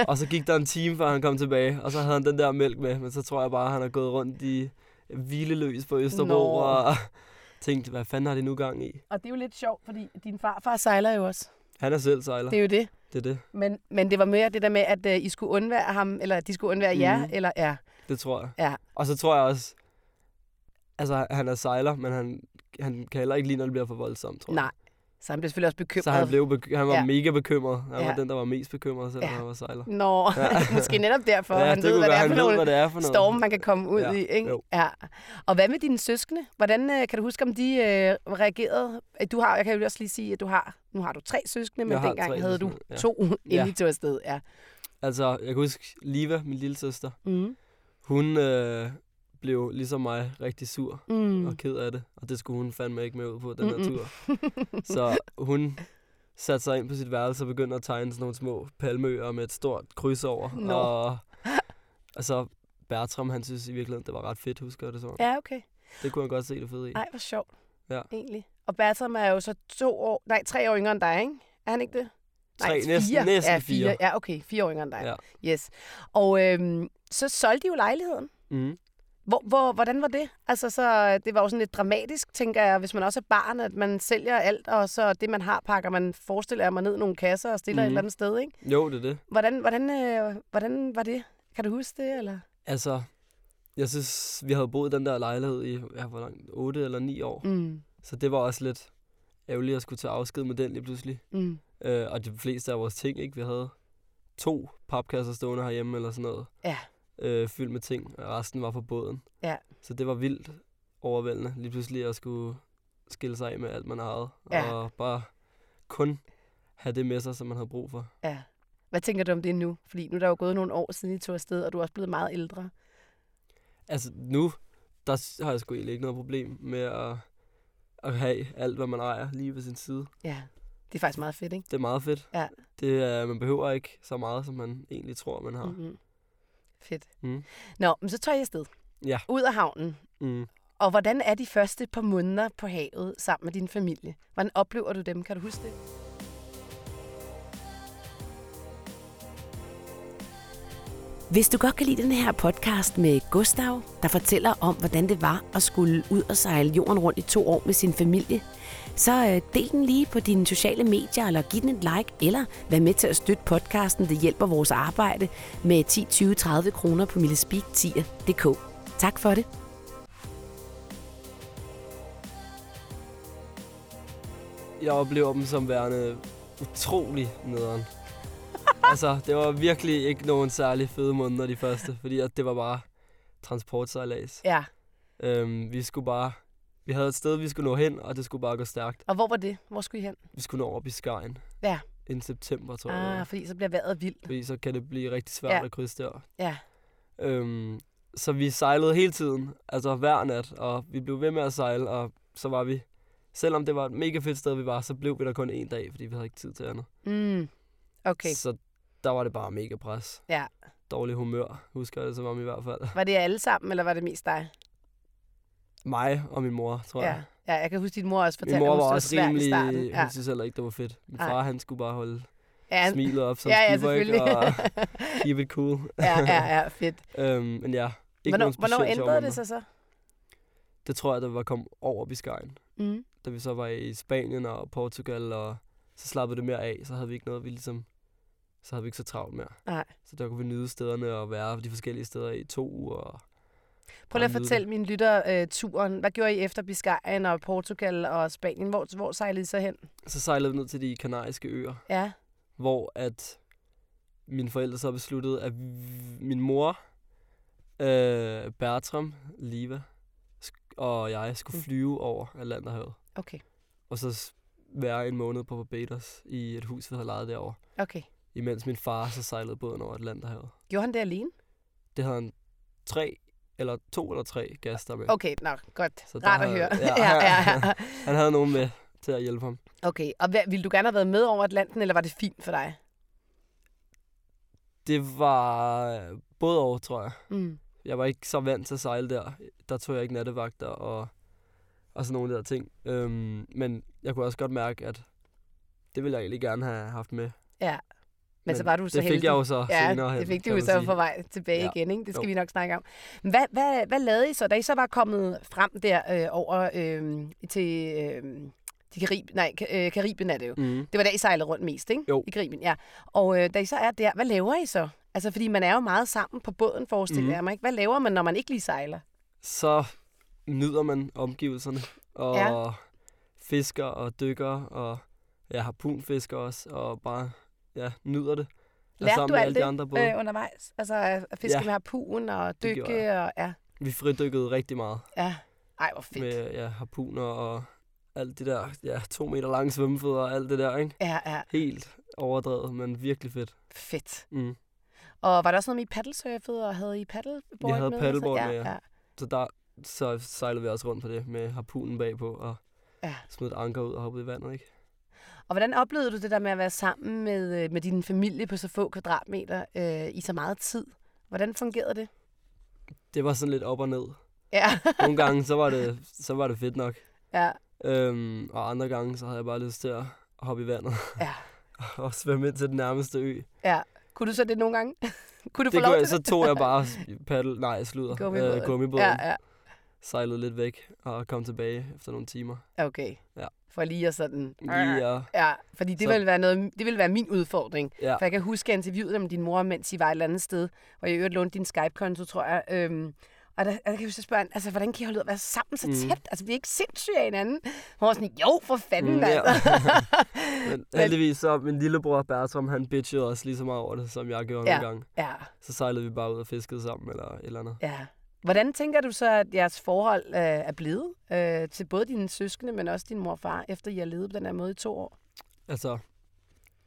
Speaker 3: og så gik der en time, før han kom tilbage, og så havde han den der mælk med. Men så tror jeg bare, han har gået rundt i hvileløs på Østerbro
Speaker 1: Nå.
Speaker 3: og [LAUGHS] tænkt, hvad fanden har de nu gang i?
Speaker 1: Og det er jo lidt sjovt, fordi din farfar sejler jo også.
Speaker 3: Han er selv sejler,
Speaker 1: Det er jo det.
Speaker 3: det er det.
Speaker 1: Men, men det var mere det der med, at øh, I skulle undvære ham, eller at de skulle undvære jer,
Speaker 3: Mhm.
Speaker 1: eller ja.
Speaker 3: Det tror jeg.
Speaker 1: Ja.
Speaker 3: Og så tror jeg også, altså han er sejler, men han, han kan heller ikke lide, når det bliver for voldsomt, tror
Speaker 1: Nej. Så han blev selvfølgelig også
Speaker 3: jeg.
Speaker 1: bekymret.
Speaker 3: Så han, blev bek- han var
Speaker 1: Ja.
Speaker 3: ja. mega bekymret. Han ja.
Speaker 1: Ja.
Speaker 3: var den, der var mest bekymret, selvom
Speaker 1: Ja.
Speaker 3: ja. han var sejler.
Speaker 1: Nå, [LAUGHS]
Speaker 3: Ja.
Speaker 1: måske netop derfor, ja, han
Speaker 3: det
Speaker 1: ved,
Speaker 3: kunne
Speaker 1: hvad det
Speaker 3: være,
Speaker 1: er
Speaker 3: han
Speaker 1: for
Speaker 3: ved, hvad
Speaker 1: nogle
Speaker 3: det er for noget.
Speaker 1: storme, man kan komme ud
Speaker 3: Ja,
Speaker 1: i. Ikke?
Speaker 3: jo.
Speaker 1: Ja. Og hvad med dine søskende? Hvordan øh, kan du huske, om de øh, reagerede? Øh, Du har, jeg kan jo også lige sige, at du har, nu har du tre søskende, men
Speaker 3: Jeg har
Speaker 1: dengang
Speaker 3: tre
Speaker 1: havde du
Speaker 3: søskende, ja.
Speaker 1: to, inden
Speaker 3: Ja.
Speaker 1: I tog afsted. Ja.
Speaker 3: Altså, jeg kan huske Liva, min lille søster,
Speaker 1: Mm.
Speaker 3: hun øh, blev ligesom mig rigtig sur mm.
Speaker 1: Mm.
Speaker 3: og ked af det. Og det skulle hun fandme ikke med ud på, den
Speaker 1: Mm-mm.
Speaker 3: her
Speaker 1: [LAUGHS]
Speaker 3: tur. Så hun satte sig ind på sit værelse og begyndte at tegne sådan nogle små palmeøer med et stort kryds over.
Speaker 1: Nå.
Speaker 3: Og, og så Bertram, han synes i virkeligheden, det var ret fedt, husker jeg det så. Ja.
Speaker 1: Ja, okay.
Speaker 3: Det kunne han godt se det fede i.
Speaker 1: Ej, hvor sjovt.
Speaker 3: Ja.
Speaker 1: Egentlig. Og Bertram er jo så to år, nej, tre år yngre end dig, ikke? Er han ikke det?
Speaker 3: Tre,
Speaker 1: fire.
Speaker 3: næsten- næsten
Speaker 1: ja,
Speaker 3: fire.
Speaker 1: Ja, okay, fire år yngre end dig. Ja. Yes. Og øhm, så solgte de jo lejligheden.
Speaker 3: Mm.
Speaker 1: Hvor, hvor, hvordan var det? Altså, så, det var jo sådan lidt dramatisk, tænker jeg, hvis man også er barn, at man sælger alt, og så det, man har, pakker man, forestiller mig ned i nogle kasser og stiller mm. et
Speaker 3: Mhm.
Speaker 1: eller andet sted, ikke?
Speaker 3: Jo, det er det.
Speaker 1: Hvordan, hvordan, øh, hvordan var det? Kan du huske det, eller?
Speaker 3: Altså, jeg synes, vi havde boet i den der lejlighed i, ja, hvor langt, 8 eller 9 år. Mm.
Speaker 1: Mm.
Speaker 3: Så det var også lidt ærgerligt at skulle tage afsked med den lige pludselig.
Speaker 1: Mm.
Speaker 3: Øh, og de fleste af vores ting, ikke? Vi havde to papkasser stående herhjemme eller sådan noget.
Speaker 1: Ja.
Speaker 3: Øh, fyldt med ting, og resten var på båden.
Speaker 1: Ja.
Speaker 3: Så det var vildt overvældende lige pludselig at skulle skille sig af med alt, man ejede.
Speaker 1: Ja.
Speaker 3: Og bare kun have det med sig, som man havde brug for.
Speaker 1: Ja. Hvad tænker du om det nu? Fordi nu er der jo gået nogle år siden, I tog afsted, og du er også blevet meget ældre.
Speaker 3: Altså nu, der s- har jeg sgu egentlig ikke noget problem med at, at have alt, hvad man ejer lige ved sin side.
Speaker 1: Ja, det er faktisk meget fedt, ikke?
Speaker 3: Det er meget fedt.
Speaker 1: Ja.
Speaker 3: Det er, man behøver ikke så meget, som man egentlig tror, man har. Mm.
Speaker 1: Mm-hmm. Fedt.
Speaker 3: Mm.
Speaker 1: Nå, men så tager jeg afsted.
Speaker 3: Ja.
Speaker 1: Ud af havnen.
Speaker 3: Mm.
Speaker 1: Og hvordan er de første par måneder på havet sammen med din familie? Hvordan oplever du dem? Kan du huske det?
Speaker 4: Hvis du godt kan lide den her podcast med Gustav, der fortæller om, hvordan det var at skulle ud og sejle jorden rundt i to år med sin familie, så øh, del den lige på dine sociale medier, eller giv den et like, eller vær med til at støtte podcasten. Det hjælper vores arbejde med 10, 20, 30 kroner på millespeak10.dk. Tak for det.
Speaker 3: Jeg oplever dem som værende utrolig
Speaker 1: [LAUGHS]
Speaker 3: nederen. altså, det var virkelig ikke nogen særlig fede måneder de første, fordi at det var bare transportsejlads.
Speaker 1: Ja.
Speaker 3: Øhm, vi skulle bare... Vi havde et sted, vi skulle nå hen, og det skulle bare gå stærkt.
Speaker 1: Og hvor var det? Hvor skulle I hen?
Speaker 3: Vi skulle nå over Biscayen.
Speaker 1: Ja.
Speaker 3: Inden september, tror jeg. det var.
Speaker 1: Ah, fordi så bliver vejret vildt.
Speaker 3: fordi så kan det blive rigtig svært
Speaker 1: Ja.
Speaker 3: ja. at krydse der.
Speaker 1: Ja.
Speaker 3: Øhm, så vi sejlede hele tiden, altså hver nat, og vi blev ved med at sejle, og så var vi, selvom det var et mega fedt sted, vi var, så blev vi der kun en dag, fordi vi havde ikke tid til andet.
Speaker 1: Mm. Okay.
Speaker 3: Så der var det bare mega pres.
Speaker 1: Ja.
Speaker 3: Dårlig humør, husker jeg det som om i hvert fald.
Speaker 1: Var det jer alle sammen, eller var det mest dig?
Speaker 3: Mig og min mor, tror jeg.
Speaker 1: Ja. ja, jeg kan huske, at din mor også fortalte,
Speaker 3: Min mor
Speaker 1: at hun
Speaker 3: var
Speaker 1: synes,
Speaker 3: også
Speaker 1: det var svært i
Speaker 3: rimelig,
Speaker 1: starten. Ja.
Speaker 3: hun synes heller ikke, det var fedt. Min
Speaker 1: Nej.
Speaker 3: far, han skulle bare holde
Speaker 1: Ja, han-
Speaker 3: smilet op som
Speaker 1: ja, ja,
Speaker 3: skipper, ikke?
Speaker 1: selvfølgelig. [LAUGHS]
Speaker 3: og keep it cool.
Speaker 1: ja, ja, ja, fedt.
Speaker 3: øhm, men ja,
Speaker 1: Hvornår,
Speaker 3: ikke nogen
Speaker 1: hvornår
Speaker 3: specielt sjove
Speaker 1: ændrede det
Speaker 3: minder.
Speaker 1: sig så?
Speaker 3: Det tror jeg, da vi var kommet over Biscayen.
Speaker 1: Mm.
Speaker 3: Da vi så var i Spanien og Portugal, og så slappede det mere af. Så havde vi ikke noget, vi ligesom... Så havde vi ikke så travlt mere.
Speaker 1: Nej.
Speaker 3: Så der kunne vi nyde stederne og være de forskellige steder i to uger. Og
Speaker 1: Prøv lige at
Speaker 3: Og nyde det.
Speaker 1: fortælle mine lytter øh, turen. Hvad gjorde I efter Biscayen og Portugal og Spanien? Hvor, hvor sejlede I så hen?
Speaker 3: så sejlede vi ned til de kanariske øer,
Speaker 1: Ja.
Speaker 3: hvor at mine forældre så besluttede, at v- min mor, øh, Bertram, Liva sk- og jeg skulle
Speaker 1: Mm.
Speaker 3: flyve over Atlanterhavet.
Speaker 1: Okay.
Speaker 3: Og så s- være en måned på Barbados i et hus, vi havde lejet derovre.
Speaker 1: Okay.
Speaker 3: Imens min far så sejlede båden over Atlanterhavet.
Speaker 1: Gjorde han det alene?
Speaker 3: Det havde han tre eller to eller tre gæster med.
Speaker 1: Okay, nå, godt.
Speaker 3: Så der
Speaker 1: Rart at
Speaker 3: havde-
Speaker 1: høre.
Speaker 3: ja.
Speaker 1: [LAUGHS] ja, ja, ja.
Speaker 3: [LAUGHS] Han havde nogen med til at hjælpe ham.
Speaker 1: Okay, og hvad, ville du gerne have været med over Atlanten, eller var det fint for dig?
Speaker 3: Det var øh, både over, tror jeg.
Speaker 1: Mm.
Speaker 3: jeg var ikke så vant til at sejle der. Der tog jeg ikke nattevagter og, og sådan nogle der ting. Øhm, men jeg kunne også godt mærke, at det ville jeg egentlig gerne have haft med.
Speaker 1: Men, så var du
Speaker 3: det
Speaker 1: så
Speaker 3: fik
Speaker 1: heldig.
Speaker 3: jeg jo så
Speaker 1: ja,
Speaker 3: senere hen.
Speaker 1: det fik du
Speaker 3: kan
Speaker 1: jo
Speaker 3: man
Speaker 1: så
Speaker 3: sige.
Speaker 1: på vej tilbage ja.
Speaker 3: Ja.
Speaker 1: igen, ikke? Det skal jo.
Speaker 3: Jo.
Speaker 1: vi nok snakke om. Men Hvad, hvad, hvad lavede I så, da I så var kommet frem der øh, over øh, til øh, de Karib, nej, Ka- øh, Karibien er det jo.
Speaker 3: Mm.
Speaker 1: Det var da, I sejlede rundt mest, ikke?
Speaker 3: Jo.
Speaker 1: I Karibien, ja. Og øh, da I så er der, hvad laver I så? Altså, fordi man er jo meget sammen på båden, forestiller
Speaker 3: Mhm.
Speaker 1: jeg mig, ikke? Hvad laver man, når man ikke lige sejler?
Speaker 3: Så nyder man omgivelserne og
Speaker 1: Ja.
Speaker 3: ja. fisker og dykker og ja, harpunfisker også og bare ja, nyder det. Er
Speaker 1: Lærte
Speaker 3: Altså, sammen
Speaker 1: du
Speaker 3: med
Speaker 1: alt
Speaker 3: alle
Speaker 1: det,
Speaker 3: de andre både.
Speaker 1: Øh, undervejs? Altså, at fiske ja.
Speaker 3: Ja.
Speaker 1: med harpuen og
Speaker 3: Det gjorde
Speaker 1: dykke og... Ja,
Speaker 3: Vi fridykkede rigtig meget
Speaker 1: ja. Ej, hvor fedt.
Speaker 3: med ja, harpuner og alt det der, ja, to meter lange svømmefødder og alt det der, ikke?
Speaker 1: Ja, ja.
Speaker 3: Helt overdrevet, men virkelig fedt.
Speaker 1: Fedt.
Speaker 3: Mm.
Speaker 1: Og var der også noget med, I paddelsurfede, og havde I paddleboard
Speaker 3: Vi havde
Speaker 1: med?
Speaker 3: paddleboard
Speaker 1: ja,
Speaker 3: med, ja.
Speaker 1: ja.
Speaker 3: Så der så sejlede vi også rundt på det med harpunen bagpå og
Speaker 1: Ja.
Speaker 3: ja. smed et anker ud og hoppede i vandet, ikke?
Speaker 1: Og hvordan oplevede du det der med at være sammen med, øh, med din familie på så få kvadratmeter øh, i så meget tid? Hvordan fungerede det?
Speaker 3: Det var sådan lidt op og ned.
Speaker 1: Ja,
Speaker 3: Nogle gange, så var det, så var det fedt nok.
Speaker 1: [LAUGHS] ja,
Speaker 3: Øhm, og andre gange, så havde jeg bare lyst til at hoppe i vandet
Speaker 1: ja.
Speaker 3: [LAUGHS] og svømme ind til den nærmeste ø.
Speaker 1: ja. Kunne du så det nogle gange? [LAUGHS] kunne du få
Speaker 3: Det
Speaker 1: lov
Speaker 3: kunne, jeg-
Speaker 1: til
Speaker 3: så tog
Speaker 1: [LAUGHS]
Speaker 3: jeg bare paddle, nej, sludder,
Speaker 1: Gummibåden.
Speaker 3: øh, gummibåden,
Speaker 1: Ja,
Speaker 3: ja, ja.
Speaker 1: ja.
Speaker 3: sejlede lidt væk og kom tilbage efter nogle timer.
Speaker 1: Okay.
Speaker 3: Ja.
Speaker 1: For lige at sådan...
Speaker 3: Lige at,
Speaker 1: Ja, fordi det
Speaker 3: Så-
Speaker 1: ville, være noget, det ville være min udfordring.
Speaker 3: ja,
Speaker 1: For jeg kan huske, at jeg interviewede med din mor, mens I var et eller andet sted, hvor jeg i øvrigt lånte din Skype-konto, tror jeg. Øhm, og der, og der kan jeg så spørge, hende, altså, hvordan kan I holde ud at være sammen så
Speaker 3: Mm.
Speaker 1: tæt? Altså, vi er ikke sindssyge af hinanden. Hun var sådan, jo, for fanden, mm,
Speaker 3: Mm, ja. [LAUGHS]
Speaker 1: altså.
Speaker 3: men heldigvis så min lillebror Bertram, han bitchede også lige så meget over det, som jeg gjorde
Speaker 1: Ja.
Speaker 3: nogle gange.
Speaker 1: ja,
Speaker 3: Så sejlede vi bare ud og fiskede sammen eller et eller andet.
Speaker 1: ja. Hvordan tænker du så, at jeres forhold øh, er blevet øh, til både dine søskende, men også din mor og far, efter I har levet på den her måde i to år?
Speaker 3: Altså,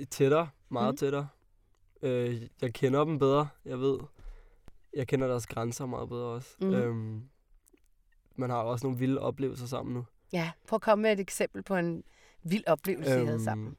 Speaker 3: tættere, meget
Speaker 1: Mhm.
Speaker 3: mm. tættere. Øh, jeg kender dem bedre, jeg ved. Jeg kender deres grænser meget bedre også.
Speaker 1: Mhm.
Speaker 3: Mm. Øhm, man har jo også nogle vilde oplevelser sammen nu.
Speaker 1: Ja, prøv at komme med et eksempel på en vild oplevelse, øhm, I havde sammen.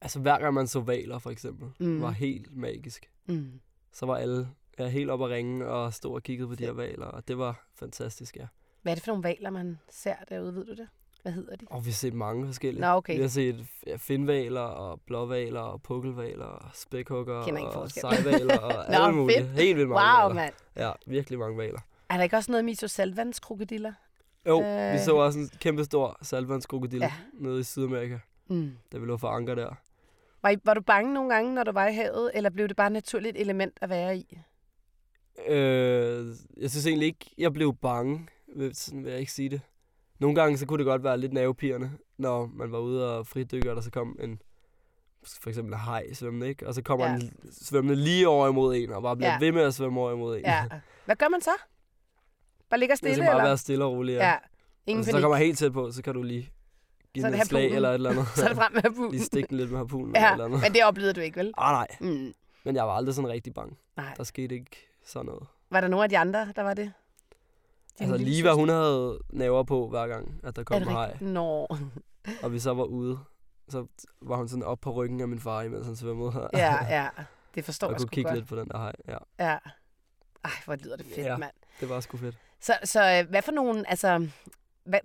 Speaker 3: Altså, hver gang man så valer, for eksempel,
Speaker 1: Mhm.
Speaker 3: mm. var helt magisk.
Speaker 1: Mm.
Speaker 3: Så var alle ja, helt op at ringe og stod og kiggede på de her valer, og det var fantastisk, ja.
Speaker 1: Hvad er det for nogle valer, man ser derude, ved du det? Hvad hedder de?
Speaker 3: Og vi har set mange forskellige.
Speaker 1: Nå, okay.
Speaker 3: Vi har set ja, finvaler og blåvaler og pukkelvaler og spækhugger
Speaker 1: Kender ikke
Speaker 3: og
Speaker 1: forskel.
Speaker 3: sejvaler
Speaker 1: [LAUGHS]
Speaker 3: og
Speaker 1: Nå,
Speaker 3: alle mulige.
Speaker 1: fedt.
Speaker 3: Helt vildt mange
Speaker 1: Wow,
Speaker 3: valer.
Speaker 1: mand.
Speaker 3: Ja, virkelig mange valer.
Speaker 1: Er der ikke også noget misosalvandskrokodiller?
Speaker 3: Jo,
Speaker 1: Øh.
Speaker 3: øh... vi så også en kæmpe stor salvandskrokodil
Speaker 1: Ja.
Speaker 3: ja. nede i Sydamerika,
Speaker 1: Mm.
Speaker 3: da vi lå for anker der.
Speaker 1: Var, I, var du bange nogle gange, når du var i havet, eller blev det bare et naturligt element at være i?
Speaker 3: Øh, jeg synes egentlig ikke, jeg blev bange, ved- sådan vil jeg ikke sige det. Nogle gange så kunne det godt være lidt nervepirrende, når man var ude og fridykke, og der så kom en for eksempel en hej svømmende, ikke? Og så kommer
Speaker 1: Ja.
Speaker 3: ja. en svømmende lige over imod en, og bare bliver
Speaker 1: Ja.
Speaker 3: ja. ved med at svømme over imod en.
Speaker 1: Ja. Hvad gør man så? Bare ligger
Speaker 3: Det
Speaker 1: stille,
Speaker 3: skal Altså, bare
Speaker 1: eller?
Speaker 3: være stille og roligt.
Speaker 1: ja. Ingen
Speaker 3: og Altså, så
Speaker 1: panik.
Speaker 3: kommer jeg helt tæt på, så kan du lige give
Speaker 1: Så er
Speaker 3: den
Speaker 1: det
Speaker 3: et slag
Speaker 1: harpunen.
Speaker 3: eller et eller andet.
Speaker 1: [LAUGHS] Så er det frem med
Speaker 3: lige
Speaker 1: harpunen.
Speaker 3: stikke den lidt med harpunen
Speaker 1: Ja,
Speaker 3: eller et eller andet.
Speaker 1: men det oplevede du ikke, vel?
Speaker 3: Ah, nej,
Speaker 1: Mm.
Speaker 3: men jeg var aldrig sådan rigtig bange.
Speaker 1: Nej.
Speaker 3: Der skete ikke sådan noget.
Speaker 1: Var der nogen af de andre, der var det? Din
Speaker 3: altså
Speaker 1: lille
Speaker 3: lige hvad hun havde naver på hver gang, at der
Speaker 1: søster?
Speaker 3: kom
Speaker 1: Er
Speaker 3: en
Speaker 1: det
Speaker 3: hej,
Speaker 1: rigtigt? Nå.
Speaker 3: og vi så var ude. Så var hun sådan op på ryggen af min far, imens han svømmede her.
Speaker 1: Ja,
Speaker 3: [LAUGHS]
Speaker 1: ja. Det forstår
Speaker 3: og
Speaker 1: jeg
Speaker 3: kunne
Speaker 1: sgu
Speaker 3: kigge
Speaker 1: godt.
Speaker 3: lidt på den der hej. Ja,
Speaker 1: Ja. Ej, hvor lyder det fedt,
Speaker 3: Ja.
Speaker 1: mand.
Speaker 3: det var sgu fedt.
Speaker 1: Så, så øh, hvad for nogle, altså, hvad,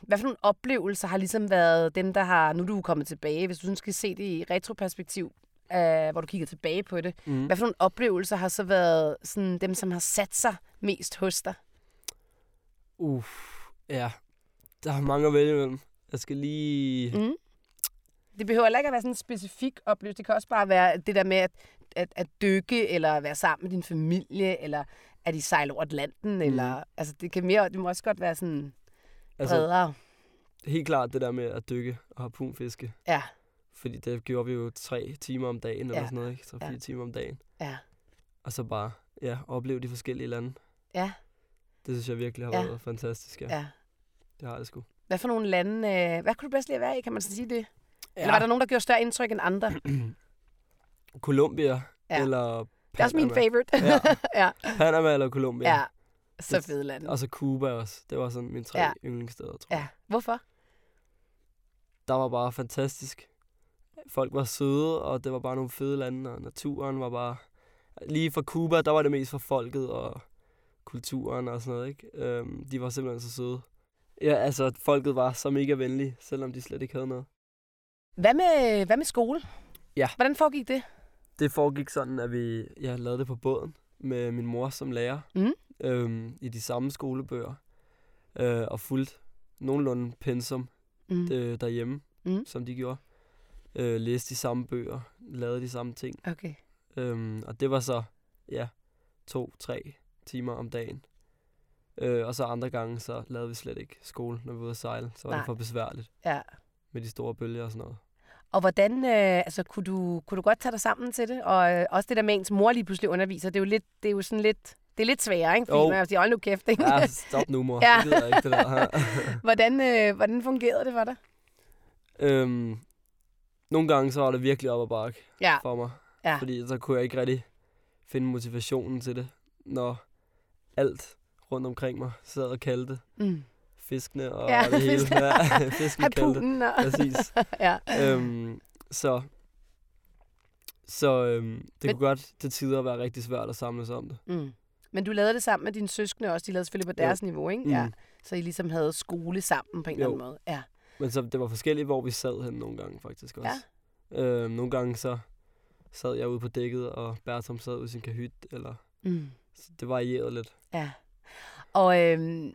Speaker 1: hvad for nogle oplevelser har ligesom været dem, der har, nu er du er kommet tilbage, hvis du sådan skal se det i retroperspektiv, øh, hvor du kigger tilbage på det.
Speaker 3: Mm.
Speaker 1: Hvad for nogle oplevelser har så været sådan, dem, som har sat sig mest hos dig?
Speaker 3: Uff, ja. Der er mange at vælge imellem. Jeg skal lige...
Speaker 1: Mm. Det behøver heller ikke at være sådan en specifik oplevelse. Det kan også bare være det der med at, at, at dykke, eller være sammen med din familie, eller at I sejler over Atlanten, mm. eller... Altså, det, kan mere, det må også godt være sådan
Speaker 3: Altså,
Speaker 1: bredere.
Speaker 3: helt klart det der med at dykke og harpunfiske.
Speaker 1: Ja,
Speaker 3: Fordi det gjorde vi jo tre timer om dagen, eller
Speaker 1: Ja.
Speaker 3: sådan noget, ikke? Tre-fire
Speaker 1: Ja.
Speaker 3: timer om dagen.
Speaker 1: ja.
Speaker 3: Og så bare, ja, opleve de forskellige lande.
Speaker 1: Ja.
Speaker 3: Det synes jeg virkelig har
Speaker 1: Ja.
Speaker 3: været fantastisk, ja.
Speaker 1: Ja.
Speaker 3: Det har det sgu.
Speaker 1: Hvad for nogle lande... Øh, hvad kunne du bedst lide at være i, kan man så sige det? Ja. Eller var der nogen, der gjorde større indtryk end andre? Det
Speaker 3: Colombia
Speaker 1: Ja.
Speaker 3: ja. eller Panama.
Speaker 1: er også min [LAUGHS] favorite.
Speaker 3: Ja.
Speaker 1: ja.
Speaker 3: Panama eller Colombia.
Speaker 1: ja. Så
Speaker 3: Det-
Speaker 1: fede lande.
Speaker 3: Og så Cuba også. Det var sådan mine tre
Speaker 1: Ja.
Speaker 3: ja. yndlingssteder, tror jeg.
Speaker 1: Ja. Hvorfor?
Speaker 3: Der var bare fantastisk. Folk var søde, og det var bare nogle fede lande, og naturen var bare... Lige fra Cuba, der var det mest for folket og kulturen og sådan noget, ikke? Øhm, de var simpelthen så søde. Ja, altså, folket var så mega venlige, selvom de slet ikke havde noget.
Speaker 1: Hvad med, hvad med skole?
Speaker 3: Ja.
Speaker 1: Hvordan foregik det?
Speaker 3: Det foregik sådan, at vi ja, lavede det på båden med min mor som lærer
Speaker 1: Mhm.
Speaker 3: øhm, i de samme skolebøger øh, og fulgte nogenlunde pensum
Speaker 1: Mm.
Speaker 3: øh, derhjemme,
Speaker 1: Mhm.
Speaker 3: som de gjorde. Øh, læste de samme bøger, lavede de samme ting.
Speaker 1: Okay.
Speaker 3: Øhm, og det var så, ja, to-tre timer om dagen. Øh, og så andre gange, så lavede vi slet ikke skole, når vi var ude at sejle. Så var
Speaker 1: Nej.
Speaker 3: det for besværligt
Speaker 1: Ja.
Speaker 3: med de store bølger og sådan noget.
Speaker 1: Og hvordan, øh, altså, kunne du, kunne du godt tage dig sammen til det? Og øh, også det der med ens mor lige pludselig underviser, det er jo, lidt, det er jo sådan lidt, det er lidt sværere, ikke? Fordi
Speaker 3: Jo.
Speaker 1: oh. man er jo sige, hold nu kæft, [LAUGHS] ikke?
Speaker 3: Ja, Ah, stop nu, mor.
Speaker 1: [LAUGHS] Ja.
Speaker 3: Ja. Det gider jeg ikke, det der.
Speaker 1: [LAUGHS] hvordan, øh, hvordan fungerede det for dig?
Speaker 3: [LAUGHS] Øhm, nogle gange så var det virkelig op ad bakke
Speaker 1: Ja,
Speaker 3: for mig.
Speaker 1: Ja.
Speaker 3: Fordi så kunne jeg ikke rigtig finde motivationen til det, når alt rundt omkring mig sad og kaldte det.
Speaker 1: mm.
Speaker 3: Fiskene og
Speaker 1: Ja,
Speaker 3: ja, det hele.
Speaker 1: fiskene.
Speaker 3: Ja, fiskene kaldte det.
Speaker 1: harpunen Mm. og...
Speaker 3: Præcis.
Speaker 1: [LAUGHS] ja.
Speaker 3: øhm, så så øhm, det
Speaker 1: Men-
Speaker 3: kunne godt til tider være rigtig svært at samles om det.
Speaker 1: Mm. Men du lavede det sammen med dine søskende også, de lavede selvfølgelig på
Speaker 3: Jo.
Speaker 1: deres niveau, ikke?
Speaker 3: Mm.
Speaker 1: Ja. Så I ligesom havde skole sammen på en eller
Speaker 3: Jo.
Speaker 1: anden måde. Ja.
Speaker 3: Men så, det var forskelligt, hvor vi sad hen nogle gange faktisk også.
Speaker 1: Ja.
Speaker 3: Øhm, nogle gange så sad jeg ude på dækket, og Bertram sad ude i sin kahyt, eller
Speaker 1: Mm.
Speaker 3: så det varierede lidt.
Speaker 1: Ja. Og øhm,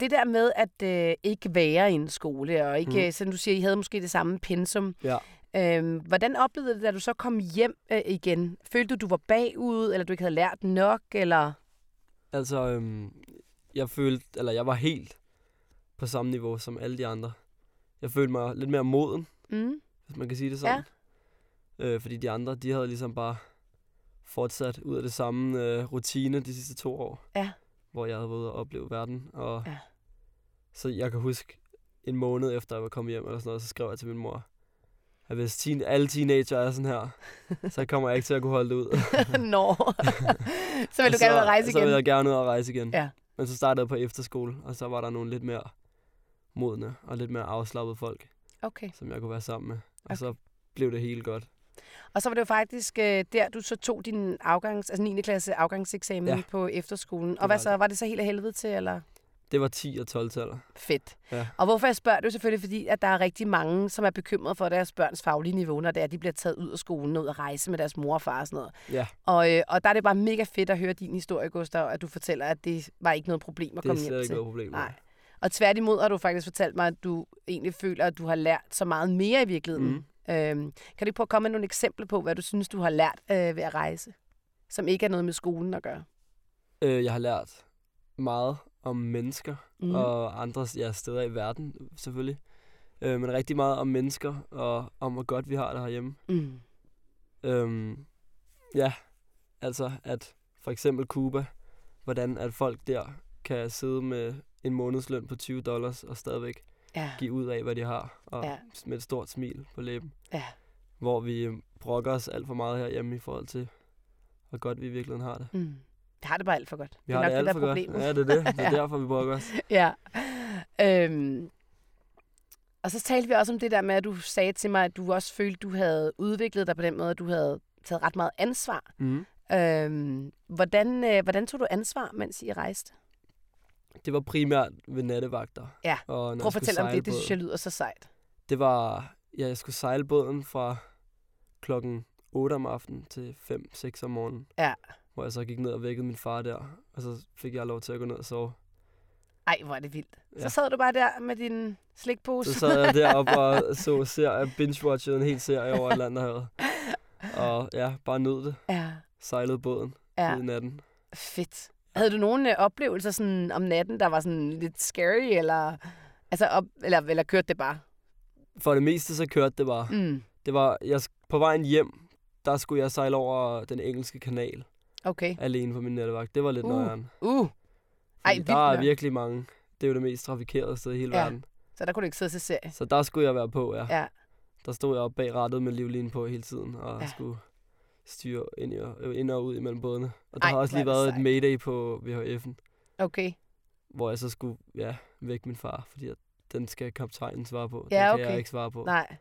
Speaker 1: det der med at øh, ikke være i en skole, og ikke, mm.
Speaker 3: Mhm.
Speaker 1: sådan du siger, I havde måske det samme pensum.
Speaker 3: Ja.
Speaker 1: Øhm, hvordan oplevede du det, da du så kom hjem øh, igen? Følte du, du var bagud, eller du ikke havde lært nok, eller...
Speaker 3: Altså, øhm, jeg følte, eller jeg var helt på samme niveau som alle de andre. Jeg følte mig lidt mere moden,
Speaker 1: Mm. [LAUGHS]
Speaker 3: hvis man kan sige det sådan. Ja. Øh, fordi de andre, de havde ligesom bare fortsat ud af det samme øh, rutine de sidste to år.
Speaker 1: Ja.
Speaker 3: Hvor jeg havde været ude og opleve verden. Og
Speaker 1: Ja.
Speaker 3: Så jeg kan huske, en måned efter jeg var kommet hjem, eller sådan noget, så skrev jeg til min mor, at hvis teen, alle teenager er sådan
Speaker 1: [LAUGHS]
Speaker 3: her, så kommer jeg ikke til at kunne holde det ud.
Speaker 1: Nå. [LAUGHS] så vil du
Speaker 3: Og så,
Speaker 1: gerne ud og rejse
Speaker 3: Så
Speaker 1: igen.
Speaker 3: vil Altså, jeg gerne ud og rejse igen.
Speaker 1: Ja.
Speaker 3: Men så startede jeg på efterskole, og så var der nogle lidt mere modne og lidt mere afslappede folk,
Speaker 1: Okay.
Speaker 3: som jeg kunne være sammen med. Og
Speaker 1: Okay.
Speaker 3: okay. så blev det helt godt.
Speaker 1: Og så var det jo faktisk øh, der, du så tog din afgangs, altså 9. klasse afgangseksamen ja.
Speaker 3: Ja.
Speaker 1: på efterskolen. Og
Speaker 3: var
Speaker 1: hvad så?
Speaker 3: det.
Speaker 1: Var det så helt af helvede til, eller?
Speaker 3: Det var 10 og 12 taller.
Speaker 1: Fedt.
Speaker 3: Ja.
Speaker 1: Og hvorfor jeg spørger, det er jo selvfølgelig fordi, at der er rigtig mange, som er bekymrede for deres børns faglige niveau, når det er, at de bliver taget ud af skolen, ud at rejse med deres mor og far og sådan noget.
Speaker 3: Ja,
Speaker 1: Og, øh, og der er det bare mega fedt at høre din historie, Gustav, at du fortæller, at det var ikke noget problem at
Speaker 3: det er
Speaker 1: komme hjem
Speaker 3: slet ikke
Speaker 1: til.
Speaker 3: noget problem.
Speaker 1: Nej. Og tværtimod har du faktisk fortalt mig, at du egentlig føler, at du har lært så meget mere i virkeligheden.
Speaker 3: Mhm.
Speaker 1: Mm. Øhm, kan du ikke prøve at komme med nogle eksempler på, hvad du synes, du har lært øh, ved at rejse, som ikke er noget med skolen at gøre?
Speaker 3: Øh, jeg har lært meget om mennesker
Speaker 1: Mm.
Speaker 3: mm. og andre ja, steder i verden, selvfølgelig. Øh, men rigtig meget om mennesker og om, hvor godt vi har det herhjemme.
Speaker 1: Mm.
Speaker 3: Øhm, ja, altså at for eksempel Cuba, hvordan at folk der kan sidde med en månedsløn på 20 dollars og stadigvæk
Speaker 1: Ja.
Speaker 3: give ud af, hvad de har, og
Speaker 1: Ja.
Speaker 3: ja. med et stort smil på læben.
Speaker 1: Ja.
Speaker 3: Hvor vi øhm, brokker os alt for meget herhjemme i forhold til, hvor godt vi i virkeligheden har det.
Speaker 1: Mm. Det har det bare alt for godt.
Speaker 3: Vi
Speaker 1: det er
Speaker 3: har
Speaker 1: nok
Speaker 3: det alt
Speaker 1: der
Speaker 3: for
Speaker 1: er
Speaker 3: godt.
Speaker 1: problemet. [LAUGHS]
Speaker 3: Ja, det er det. Det er
Speaker 1: Ja.
Speaker 3: derfor, vi brokker os.
Speaker 1: Ja. Øhm. Og så talte vi også om det der med, at du sagde til mig, at du også følte, du havde udviklet dig på den måde, at du havde taget ret meget ansvar.
Speaker 3: Mm.
Speaker 1: Øhm. Hvordan, øh, hvordan tog du ansvar, mens I rejste?
Speaker 3: Det var primært ved nattevagter.
Speaker 1: Ja.
Speaker 3: Og når
Speaker 1: Prøv
Speaker 3: jeg
Speaker 1: at
Speaker 3: skulle
Speaker 1: fortælle om
Speaker 3: sejle
Speaker 1: det, det synes
Speaker 3: båden.
Speaker 1: jeg lyder så sejt.
Speaker 3: Det var, ja, jeg skulle sejle båden fra klokken 8 om aftenen til 5-6 om morgenen.
Speaker 1: Ja.
Speaker 3: Hvor jeg så gik ned og vækkede min far der, og så fik jeg lov til at gå ned og sove.
Speaker 1: Ej, hvor er det vildt. Ja. Så
Speaker 3: Ja.
Speaker 1: sad du bare der med din slikpose.
Speaker 3: Så sad jeg deroppe og så ser, binge-watchede en hel serie over Atlanterhavet. Og ja, bare nød det.
Speaker 1: [LAUGHS] Ja,
Speaker 3: Sejlede båden
Speaker 1: ja.
Speaker 3: ja. i natten.
Speaker 1: Fedt. Havde du nogle øh, oplevelser sådan om natten, der var sådan lidt scary, eller, altså op, eller, eller kørte det bare?
Speaker 3: For det meste så kørte det bare.
Speaker 1: Mm.
Speaker 3: Det var, jeg, sk- på vejen hjem, der skulle jeg sejle over den engelske kanal
Speaker 1: Okay.
Speaker 3: alene på min nattevagt. Det var lidt
Speaker 1: Uh.
Speaker 3: uh. nøjeren.
Speaker 1: Uh. Ej, vildt
Speaker 3: der er
Speaker 1: nok.
Speaker 3: virkelig mange. Det er jo det mest trafikerede sted i hele
Speaker 1: Ja.
Speaker 3: ja. verden.
Speaker 1: Så der kunne du ikke sidde til serie.
Speaker 3: Så der skulle jeg være på, ja.
Speaker 1: Ja.
Speaker 3: Der stod jeg oppe bag rattet med livlinen på hele tiden, og
Speaker 1: Ja.
Speaker 3: ja. skulle styre ind og, øh, ind og ud imellem bådene. Og der
Speaker 1: Ej,
Speaker 3: har også
Speaker 1: hvor er
Speaker 3: lige
Speaker 1: det
Speaker 3: været
Speaker 1: sejt.
Speaker 3: et mayday på VHF'en,
Speaker 1: Okay.
Speaker 3: hvor jeg så skulle ja, væk min far, fordi at den skal kaptajnen svare på.
Speaker 1: Ja,
Speaker 3: den kan
Speaker 1: okay.
Speaker 3: jeg ikke svare på.
Speaker 1: Nej.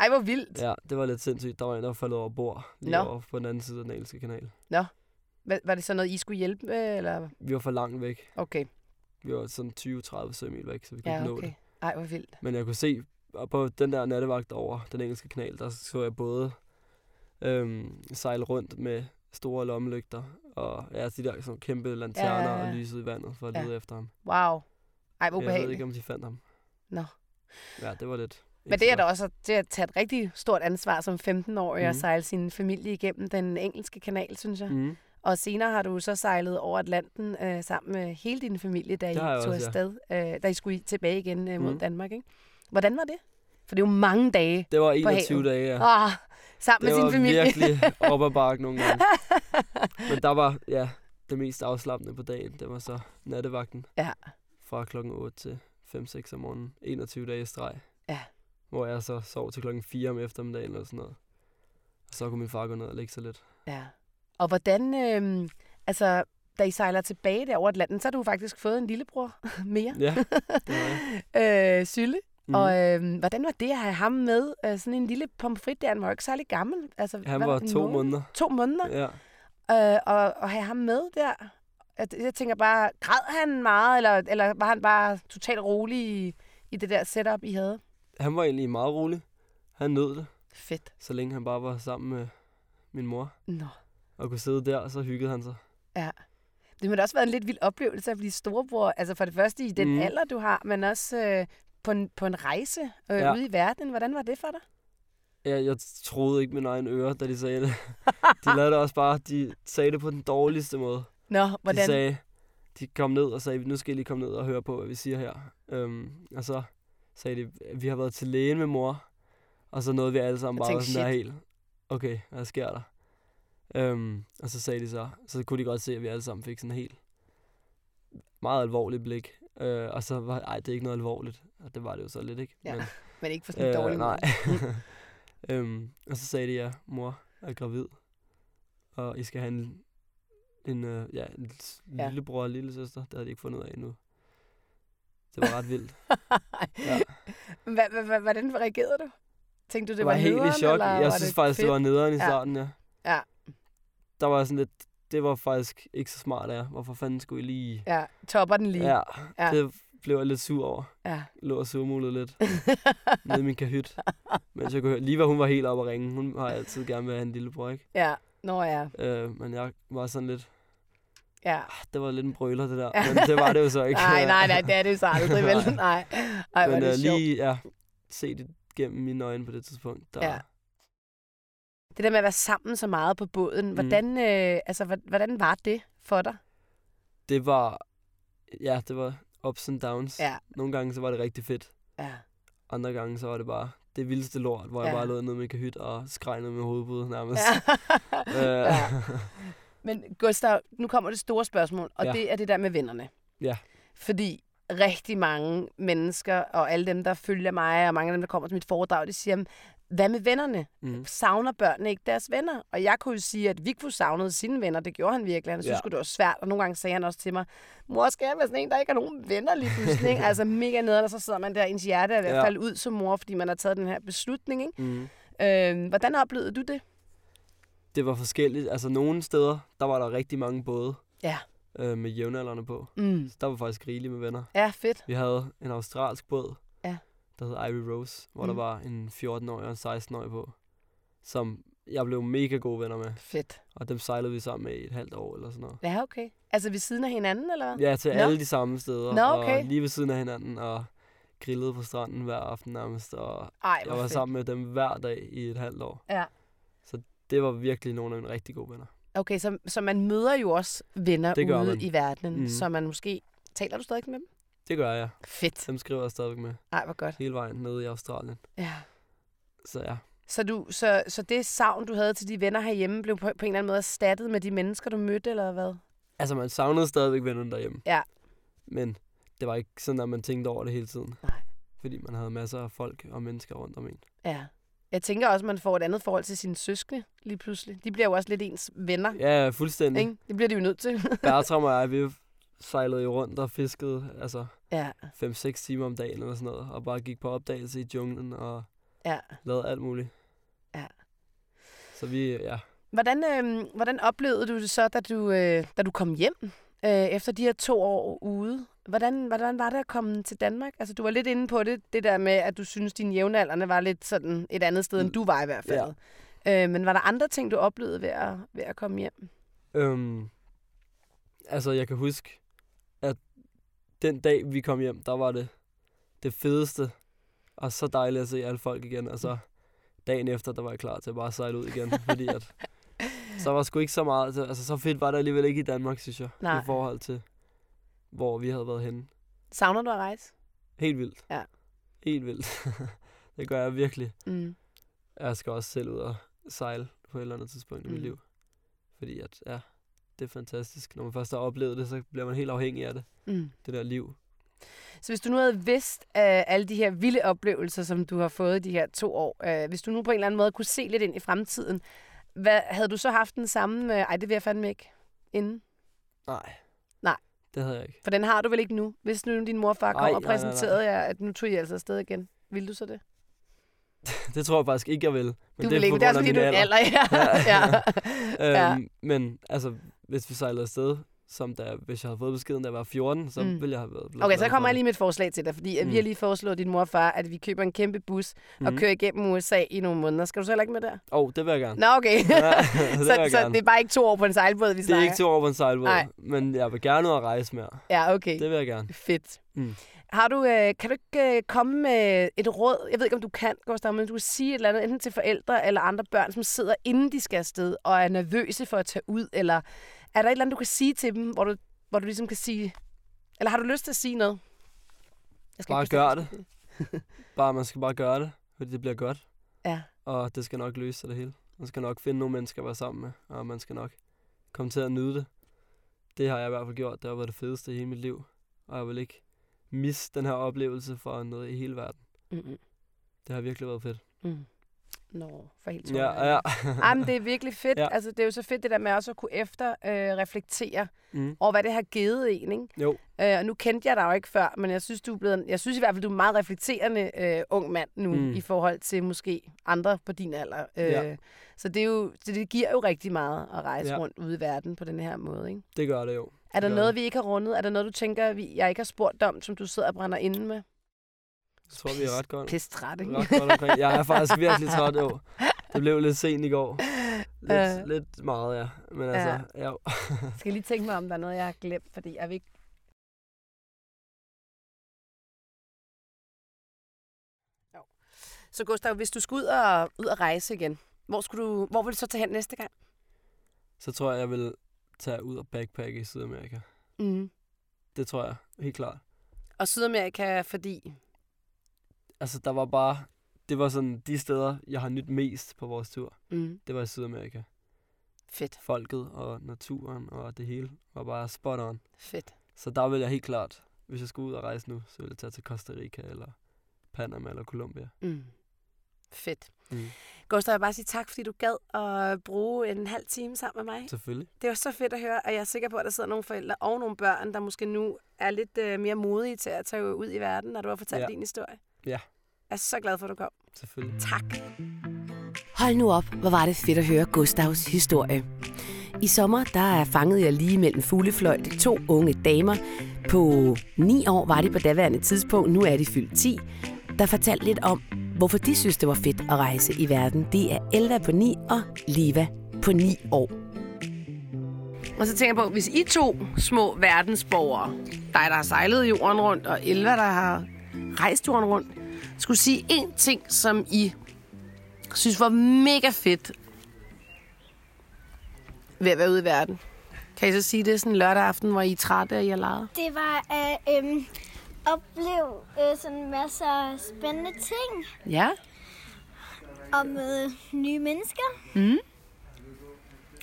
Speaker 1: Ej, hvor vildt.
Speaker 3: Ja, det var lidt sindssygt. Der var en, der var faldet over bord lige
Speaker 1: Nå.
Speaker 3: over på den anden side af den engelske kanal.
Speaker 1: Hva- Var det så noget, I skulle hjælpe med, eller?
Speaker 3: Vi var for langt væk.
Speaker 1: Okay.
Speaker 3: Vi var sådan 20-30 sømil væk, så vi kunne
Speaker 1: Ja,
Speaker 3: ikke nå
Speaker 1: okay.
Speaker 3: det.
Speaker 1: Ej, hvor vildt.
Speaker 3: Men jeg kunne se og på den der nattevagt over den engelske kanal, der så jeg både øhm, sejle rundt med store lommelygter og ja, de der sådan nogle kæmpe lanterner
Speaker 1: ja,
Speaker 3: ja,
Speaker 1: ja.
Speaker 3: og lyset i vandet for at
Speaker 1: Ja.
Speaker 3: lede efter ham.
Speaker 1: Wow. Ej, hvor
Speaker 3: Jeg ved
Speaker 1: ubehageligt.
Speaker 3: ikke, om de fandt ham.
Speaker 1: Nå.
Speaker 3: Ja, det var lidt...
Speaker 1: Men det er da også det er at tage et rigtig stort ansvar som 15-årig mm. at
Speaker 3: Mhm.
Speaker 1: sejle sin familie igennem den engelske kanal, synes jeg. Mm.
Speaker 3: Mm.
Speaker 1: Og senere har du så sejlet over Atlanten øh, sammen med hele din familie, da I
Speaker 3: Det har jeg
Speaker 1: tog
Speaker 3: også, ja.
Speaker 1: afsted, øh, da I skulle i- tilbage igen øh, mod mm.
Speaker 3: Mhm.
Speaker 1: Danmark. Ikke? Hvordan var det? For det er jo mange dage
Speaker 3: Det var
Speaker 1: havet.
Speaker 3: 21 dage, ja.
Speaker 1: ah, sammen
Speaker 3: det
Speaker 1: med
Speaker 3: var
Speaker 1: sin familie. [LAUGHS]
Speaker 3: virkelig op ad bakke nogle gange. Men der var, ja, det mest afslappende på dagen, det var så nattevagten.
Speaker 1: Ja.
Speaker 3: Fra klokken 8 til 5-6 om morgenen. 21 dage i streg.
Speaker 1: Ja.
Speaker 3: Hvor jeg så sov til klokken 4 om eftermiddagen eller sådan noget. Og så kunne min far gå ned og lægge sig lidt.
Speaker 1: ja. Og hvordan, øh, altså, da I sejler tilbage der over Atlanten, så har du faktisk fået en lillebror [LAUGHS] mere,
Speaker 3: Ja, det var
Speaker 1: [LAUGHS]
Speaker 3: jeg.
Speaker 1: øh, Sylle.
Speaker 3: Mhm.
Speaker 1: Og øh, hvordan var det at have ham med? Øh, sådan en lille pomfrit der, han var jo ikke særlig gammel. Altså,
Speaker 3: Han
Speaker 1: hvad
Speaker 3: var
Speaker 1: det, en
Speaker 3: to
Speaker 1: måned?
Speaker 3: måneder.
Speaker 1: To måneder?
Speaker 3: Ja.
Speaker 1: øh, og, og have ham med der. At- Jeg tænker bare, græd han meget, eller, eller var han bare totalt rolig i, i det der setup, I havde?
Speaker 3: Han var egentlig meget rolig. Han nød det,
Speaker 1: Fedt.
Speaker 3: så længe han bare var sammen med min mor.
Speaker 1: Nå.
Speaker 3: Og kunne sidde der, og så hyggede han sig.
Speaker 1: Det må da også være en lidt vild oplevelse at blive storebror. Altså for det første i den mm.
Speaker 3: Mm.
Speaker 1: alder, du har, men også øh, på, en, på en rejse øh, ja.
Speaker 3: Ja.
Speaker 1: ude i verden. Hvordan var det for dig?
Speaker 3: Jeg, jeg troede ikke mine egne ører, da de sagde
Speaker 1: [LAUGHS]
Speaker 3: det. De lavede det også bare, de sagde det på den dårligste måde.
Speaker 1: Nå, hvordan?
Speaker 3: De sagde, de kom ned og sagde, nu skal I lige komme ned og høre på, hvad vi siger her. Øhm, og så sagde de, vi har været til lægen med mor, og så nåede vi alle sammen
Speaker 1: Jeg
Speaker 3: bare
Speaker 1: tænkte,
Speaker 3: var sådan der helt, okay, hvad sker der? Øhm, og så sagde de så, så kunne de godt se, at vi alle sammen fik sådan en helt meget alvorligt blik. Øh, og så var, ej, det er ikke noget alvorligt. Og det var det jo så lidt, ikke?
Speaker 1: Ja.
Speaker 3: Men,
Speaker 1: men ikke for sådan en dårlig måde.
Speaker 3: Øh, nej. øhm, og så sagde de, ja, mor er gravid, og I skal have en, en, øh, ja, en s-
Speaker 1: Ja.
Speaker 3: lillebror og lille søster. Det havde de ikke fundet ud af endnu. Det var ret vildt. [LAUGHS] Ja.
Speaker 1: Hva- hva- hva- Hvordan reagerede du? Tænkte du, det var,
Speaker 3: helt
Speaker 1: hederen,
Speaker 3: i chok.
Speaker 1: Eller
Speaker 3: Jeg
Speaker 1: var
Speaker 3: synes
Speaker 1: det
Speaker 3: faktisk,
Speaker 1: fedt?
Speaker 3: det var nederen i
Speaker 1: Ja.
Speaker 3: starten, ja.
Speaker 1: Ja.
Speaker 3: Der var sådan lidt, det var faktisk ikke så smart af jer. Hvorfor fanden skulle I lige...
Speaker 1: Ja, topper den lige.
Speaker 3: Ja,
Speaker 1: Ja.
Speaker 3: ja. det blev jeg lidt sur over.
Speaker 1: ja.
Speaker 3: lå og surmulede lidt nede i min kahyt. Mens jeg kunne høre, lige var hun var helt oppe at ringe. Hun har altid gerne været en lillebror, ikke?
Speaker 1: [LAUGHS] ja. Nå ja.
Speaker 3: Øh, men jeg var sådan lidt,
Speaker 1: ja.
Speaker 3: ah, det var lidt en brøler, det der.
Speaker 1: Ja.
Speaker 3: Men det var det jo så
Speaker 1: [LAUGHS]
Speaker 3: ikke.
Speaker 1: Nej, nej, nej, det er det jo så aldrig,
Speaker 3: [LAUGHS]
Speaker 1: vel? Nej. Ej, hvor er
Speaker 3: men øh,
Speaker 1: det sjovt.
Speaker 3: lige, ja, se det gennem mine øjne på det tidspunkt. Der,
Speaker 1: Ja. Det der med at være sammen så meget på båden,
Speaker 3: Mm.
Speaker 1: hvordan, øh, altså, hva- hvordan var det for dig?
Speaker 3: Det var, ja, det var ups and downs.
Speaker 1: Ja.
Speaker 3: Nogle gange så var det rigtig fedt.
Speaker 1: Ja.
Speaker 3: Andre gange så var det bare det vildeste lort, hvor
Speaker 1: Ja.
Speaker 3: jeg bare lå nede i min kahyt og skreg ned med hovedbudet nærmest.
Speaker 1: [LAUGHS] ja.
Speaker 3: Øh,
Speaker 1: ja. Men Gustav, nu kommer det store spørgsmål, og ja.
Speaker 3: Ja.
Speaker 1: det er det der med vennerne.
Speaker 3: Ja.
Speaker 1: Fordi rigtig mange mennesker, og alle dem, der følger mig, og mange af dem, der kommer til mit foredrag, de siger, hvad med vennerne?
Speaker 3: [LAUGHS] mm.
Speaker 1: savner børnene ikke deres venner? Og jeg kunne jo sige, at Vigfus savnede sine venner. Det gjorde han virkelig. Han synes
Speaker 3: Ja.
Speaker 1: ja. det var svært, og nogle gange sagde han også til mig, mor, skal jeg være sådan en, der ikke har nogen venner lige
Speaker 3: [LAUGHS]
Speaker 1: pludselig? ikke? altså mega nede, og så sidder man der, ens hjerte er i hvert
Speaker 3: Ja.
Speaker 1: fald ud som mor, fordi man har taget den her beslutning.
Speaker 3: Mm.
Speaker 1: Ikke? Øhm, hvordan oplevede du det?
Speaker 3: det var forskelligt. Altså nogle steder, der var der rigtig mange både.
Speaker 1: Ja.
Speaker 3: Øh, med jævnaldrende på.
Speaker 1: Mm.
Speaker 3: Så der var faktisk rigeligt med venner.
Speaker 1: Ja, fedt.
Speaker 3: Vi havde en australsk båd,
Speaker 1: Ja.
Speaker 3: der hed Ivy Rose, hvor
Speaker 1: Mm.
Speaker 3: der var en 14-årig og en 16-årig på, som jeg blev mega gode venner med.
Speaker 1: Fedt.
Speaker 3: Og dem sejlede vi sammen med i et halvt år eller sådan noget.
Speaker 1: Ja, okay. Altså ved siden af hinanden, eller hvad?
Speaker 3: Ja, til
Speaker 1: Nå.
Speaker 3: no. alle de samme steder.
Speaker 1: Nå, okay.
Speaker 3: Og lige ved siden af hinanden og grillede på stranden hver aften nærmest. Og
Speaker 1: Ej,
Speaker 3: jeg var sammen med dem hver dag i et halvt år.
Speaker 1: Ja.
Speaker 3: Så det var virkelig nogle af mine rigtig gode venner.
Speaker 1: Okay, så, så man møder jo også venner
Speaker 3: Det gør
Speaker 1: ude
Speaker 3: man.
Speaker 1: i verdenen, mm.
Speaker 3: Mhm.
Speaker 1: så man måske... Taler du stadig med dem?
Speaker 3: Det gør jeg.
Speaker 1: Fedt.
Speaker 3: Dem skriver jeg stadigvæk med
Speaker 1: Ej, hvor godt.
Speaker 3: hele vejen nede i Australien.
Speaker 1: Ja.
Speaker 3: Så ja,
Speaker 1: Så, du, så, så det savn, du havde til de venner herhjemme, blev på, på en eller anden måde erstattet med de mennesker, du mødte, eller hvad?
Speaker 3: altså man savnede stadigvæk vennerne derhjemme.
Speaker 1: Ja.
Speaker 3: Men det var ikke sådan, at man tænkte over det hele tiden.
Speaker 1: Nej.
Speaker 3: Fordi man havde masser af folk og mennesker rundt om en.
Speaker 1: Ja. Jeg tænker også, man får et andet forhold til sine søskende lige pludselig. De bliver jo også lidt ens venner,
Speaker 3: Ja, fuldstændig.
Speaker 1: ikke? Det bliver de jo nødt til.
Speaker 3: [LAUGHS] Bertram og jeg, vi sejlede jo rundt og fiskede altså
Speaker 1: ja,
Speaker 3: 5-6 timer om dagen eller sådan noget, og bare gik på opdagelse i junglen og
Speaker 1: ja.
Speaker 3: lavede alt muligt.
Speaker 1: Ja.
Speaker 3: Så vi, ja,
Speaker 1: [LAUGHS] Hvordan, øh, hvordan oplevede du det så, da du, øh, da du kom hjem øh, efter de her to år ude? Hvordan, hvordan var det at komme til Danmark? Altså, du var lidt inde på det, det der med, at du synes, dine jævnaldrende var lidt sådan et andet sted, end du var i hvert fald. Mm. Ja. Øh, men var der andre ting, du oplevede ved at, ved at komme hjem?
Speaker 3: øhm, altså jeg kan huske, at den dag vi kom hjem, der var det det fedeste, og så dejligt at se alle folk igen, og så dagen efter, der var jeg klar til at bare sejle ud
Speaker 1: [LAUGHS]
Speaker 3: igen, fordi at så var sgu ikke så meget, altså så fedt var det alligevel ikke i Danmark, synes jeg,
Speaker 1: Nej.
Speaker 3: i forhold til, hvor vi havde været henne.
Speaker 1: Savner du at rejse?
Speaker 3: Helt vildt.
Speaker 1: Ja.
Speaker 3: Helt vildt. [LAUGHS] det gør jeg virkelig.
Speaker 1: Mm.
Speaker 3: Jeg skal også selv ud og sejle på et eller andet tidspunkt mm. i
Speaker 1: Mm.
Speaker 3: mit liv. Fordi at, ja, det er fantastisk. Når man først har oplevet det, så bliver man helt afhængig af det.
Speaker 1: Mm.
Speaker 3: Det der liv.
Speaker 1: Så hvis du nu havde vidst øh, alle de her vilde oplevelser, som du har fået de her to år, øh, hvis du nu på en eller anden måde kunne se lidt ind i fremtiden, hvad, havde du så haft den samme? Øh, ej, det vil jeg fandme ikke inden.
Speaker 3: Nej.
Speaker 1: Nej.
Speaker 3: Det havde jeg ikke.
Speaker 1: For den har du vel ikke nu? Hvis nu din morfar kom
Speaker 3: Ej,
Speaker 1: og
Speaker 3: nej, nej, nej.
Speaker 1: præsenterede jer, at nu tog I altså afsted igen. Vil du så det?
Speaker 3: Det tror jeg faktisk ikke, jeg vil. Men
Speaker 1: du
Speaker 3: det
Speaker 1: vil ikke,
Speaker 3: på
Speaker 1: men det altså er
Speaker 3: grund
Speaker 1: også
Speaker 3: af
Speaker 1: fordi, du
Speaker 3: min
Speaker 1: er en alder. Ja. [LAUGHS]
Speaker 3: [LAUGHS]
Speaker 1: ja.
Speaker 3: ja.
Speaker 1: Ja.
Speaker 3: Øhm, men altså, hvis vi sejlede afsted, som da, hvis jeg havde fået beskeden, da jeg var 14, så
Speaker 1: Mm.
Speaker 3: mm. ville jeg have været blevet
Speaker 1: Okay,
Speaker 3: glad
Speaker 1: så kommer
Speaker 3: for
Speaker 1: jeg lige med et forslag til dig, fordi mm. vi
Speaker 3: Mm.
Speaker 1: har lige foreslået din morfar, at vi køber en kæmpe bus mm. og
Speaker 3: Mhm.
Speaker 1: kører igennem USA i nogle måneder. Skal du så heller ikke med der?
Speaker 3: Åh, oh, det vil jeg gerne.
Speaker 1: Nå, okay.
Speaker 3: Ja, [LAUGHS] det vil
Speaker 1: så,
Speaker 3: jeg
Speaker 1: så
Speaker 3: gerne.
Speaker 1: det er bare ikke to år på en sejlbåd, vi
Speaker 3: Det
Speaker 1: snakker.
Speaker 3: er ikke to år på en sejlbåd,
Speaker 1: Nej.
Speaker 3: men jeg vil gerne ud og rejse mere.
Speaker 1: Ja, okay.
Speaker 3: Det vil jeg gerne.
Speaker 1: Fedt.
Speaker 3: Mm.
Speaker 1: Har du, øh, kan du ikke øh, komme med et råd? Jeg ved ikke, om du kan, Gustav, men du kan sige et eller andet, enten til forældre eller andre børn, som sidder inden de skal afsted og er nervøse for at tage ud, eller er der et eller andet, du kan sige til dem, hvor du, hvor du ligesom kan sige... Eller har du lyst til at sige noget? Jeg ikke
Speaker 3: Bare
Speaker 1: bestemme,
Speaker 3: gør
Speaker 1: hvad jeg skal sige.
Speaker 3: [LAUGHS] Bare, man skal bare gøre det, fordi det bliver godt.
Speaker 1: Ja.
Speaker 3: Og det skal nok løse sig det hele. Man skal nok finde nogle mennesker at være sammen med, og man skal nok komme til at nyde det. Det har jeg i hvert fald gjort. Det har været det fedeste i hele mit liv. Og jeg vil ikke misse den her oplevelse for noget i hele verden.
Speaker 1: Mm-mm.
Speaker 3: Det har virkelig været fedt.
Speaker 1: Mm. Nå, for helt
Speaker 3: Ja,
Speaker 1: [LAUGHS] tårer i
Speaker 3: ja.
Speaker 1: øjnene. Ej, men det er virkelig fedt. Ja.
Speaker 3: Ja.
Speaker 1: Altså, det er jo så fedt, det der med også at kunne efterreflektere øh, reflektere
Speaker 3: [LAUGHS] Mm.
Speaker 1: over, hvad det har givet en, ikke?
Speaker 3: Jo,
Speaker 1: Øh, og nu kendte jeg dig jo ikke før, men jeg synes, du er blevet, en- jeg synes i hvert fald, du er en meget reflekterende øh, ung mand nu, mm.
Speaker 3: Mm.
Speaker 1: i forhold til måske andre på din alder. Øh,
Speaker 3: Ja.
Speaker 1: Så det, er jo, det, det giver jo rigtig meget at rejse ja.
Speaker 3: Ja.
Speaker 1: rundt ude i verden på den her måde. Ikke?
Speaker 3: det gør det jo.
Speaker 1: Er der
Speaker 3: gør
Speaker 1: noget,
Speaker 3: det.
Speaker 1: vi ikke har rundet? Er der noget, du tænker, vi, jeg ikke har spurgt om, som du sidder og brænder inde med?
Speaker 3: Jeg tror, vi er ret godt.
Speaker 1: Pisse træt, ikke?
Speaker 3: Ret godt omkring. Jeg er faktisk virkelig træt, jo. Det blev lidt sent i går. Lidt,
Speaker 1: Øh.
Speaker 3: lidt meget, ja. Men altså, ja. jo.
Speaker 1: Jeg skal lige tænke mig, om der er noget, jeg har glemt, fordi jeg vil ikke... Jo. Så Gustav, hvis du skulle ud og, ud og rejse igen, hvor, skulle du, hvor vil du så tage hen næste gang?
Speaker 3: så tror jeg, jeg vil tage ud og backpacke i Sydamerika.
Speaker 1: Mm.
Speaker 3: Det tror jeg, helt klart.
Speaker 1: Og Sydamerika, fordi...
Speaker 3: Altså, der var bare... Det var sådan de steder, jeg har nyt mest på vores tur.
Speaker 1: Mm.
Speaker 3: Det var i Sydamerika.
Speaker 1: Fedt,
Speaker 3: Folket og naturen og det hele var bare spot on.
Speaker 1: fedt.
Speaker 3: Så der vil jeg helt klart, hvis jeg skulle ud og rejse nu, så ville jeg tage til Costa Rica eller Panama eller Colombia.
Speaker 1: Mm. Fedt. Mm.
Speaker 3: Mm.
Speaker 1: Gustav, jeg vil bare sige tak, fordi du gad at bruge en halv time sammen med mig.
Speaker 3: Selvfølgelig.
Speaker 1: Det var så fedt at høre, og jeg er sikker på, at der sidder nogle forældre og nogle børn, der måske nu er lidt øh, mere modige til at tage ud i verden, når du har fortalt ja.
Speaker 3: Ja.
Speaker 1: din historie.
Speaker 3: Ja.
Speaker 1: Jeg er så glad for, at du kom.
Speaker 3: Selvfølgelig.
Speaker 1: Tak.
Speaker 5: Hold nu op, hvor var det fedt at høre Gustavs historie. I sommer, der fangede jeg lige mellem fuglefløjt to unge damer. På 9 år var de på daværende tidspunkt, nu er de fyldt 10, der fortalte lidt om,
Speaker 6: Hvorfor de synes, det var fedt at rejse i verden, det er Elva på 9 og Liva på 9 år.
Speaker 1: Og så tænker jeg på, hvis I to små verdensborgere, dig der har sejlet jorden rundt, og Elva der har rejst jorden rundt, skulle sige én ting, som I synes var mega fedt ved at være ude i verden. Kan I så sige det sådan lørdag aften, hvor I er trætte og I har leget?
Speaker 7: Det var at øhm, opleve øh, sådan masser af spændende ting
Speaker 1: Ja.
Speaker 7: og møde nye mennesker.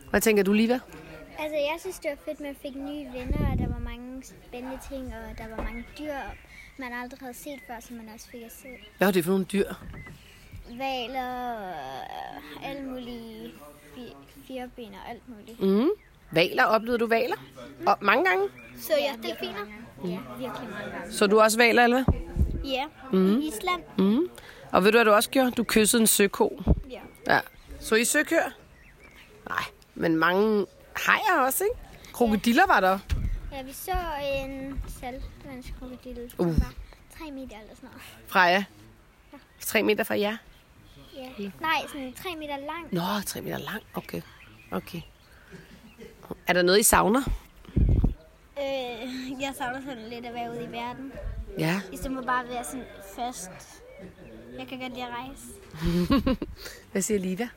Speaker 1: Hvad tænker du, Liva?
Speaker 7: Altså, jeg synes, det var fedt, man fik nye venner, og der var mange spændende ting, og der var mange dyr, man aldrig havde set før, som man også fik at se.
Speaker 1: Hvad var det for nogle dyr?
Speaker 7: Valer og øh, alle mulige fi- firben og alt muligt.
Speaker 1: Mm. Valer, oplevede du valer? Og mange gange.
Speaker 7: Så ja, delfiner? Ja, virkelig mange gange.
Speaker 1: Så du også valer, Elva?
Speaker 7: Ja, mm. Island?
Speaker 1: Mm. Og ved du, hvad du også gjorde? Du kyssede en søko.
Speaker 7: Ja.
Speaker 1: Ja. Så I søkør? Nej, men mange hajer også, ikke? Krokodiller var der.
Speaker 7: Ja, vi så en saltvandskrokodille, som
Speaker 1: Uh.
Speaker 7: var 3 meter eller sådan noget.
Speaker 1: Freja. Tre meter fra jer.
Speaker 7: Ja. Nej, sådan 3 meter lang.
Speaker 1: Nå, tre meter lang. Okay. Okay. Er der noget, I savner?
Speaker 7: Øh, jeg savner sådan lidt at være ude i verden.
Speaker 1: Ja.
Speaker 7: I stedet for bare at være sådan fast. Jeg kan godt lide at rejse.
Speaker 1: Hvad siger Liva?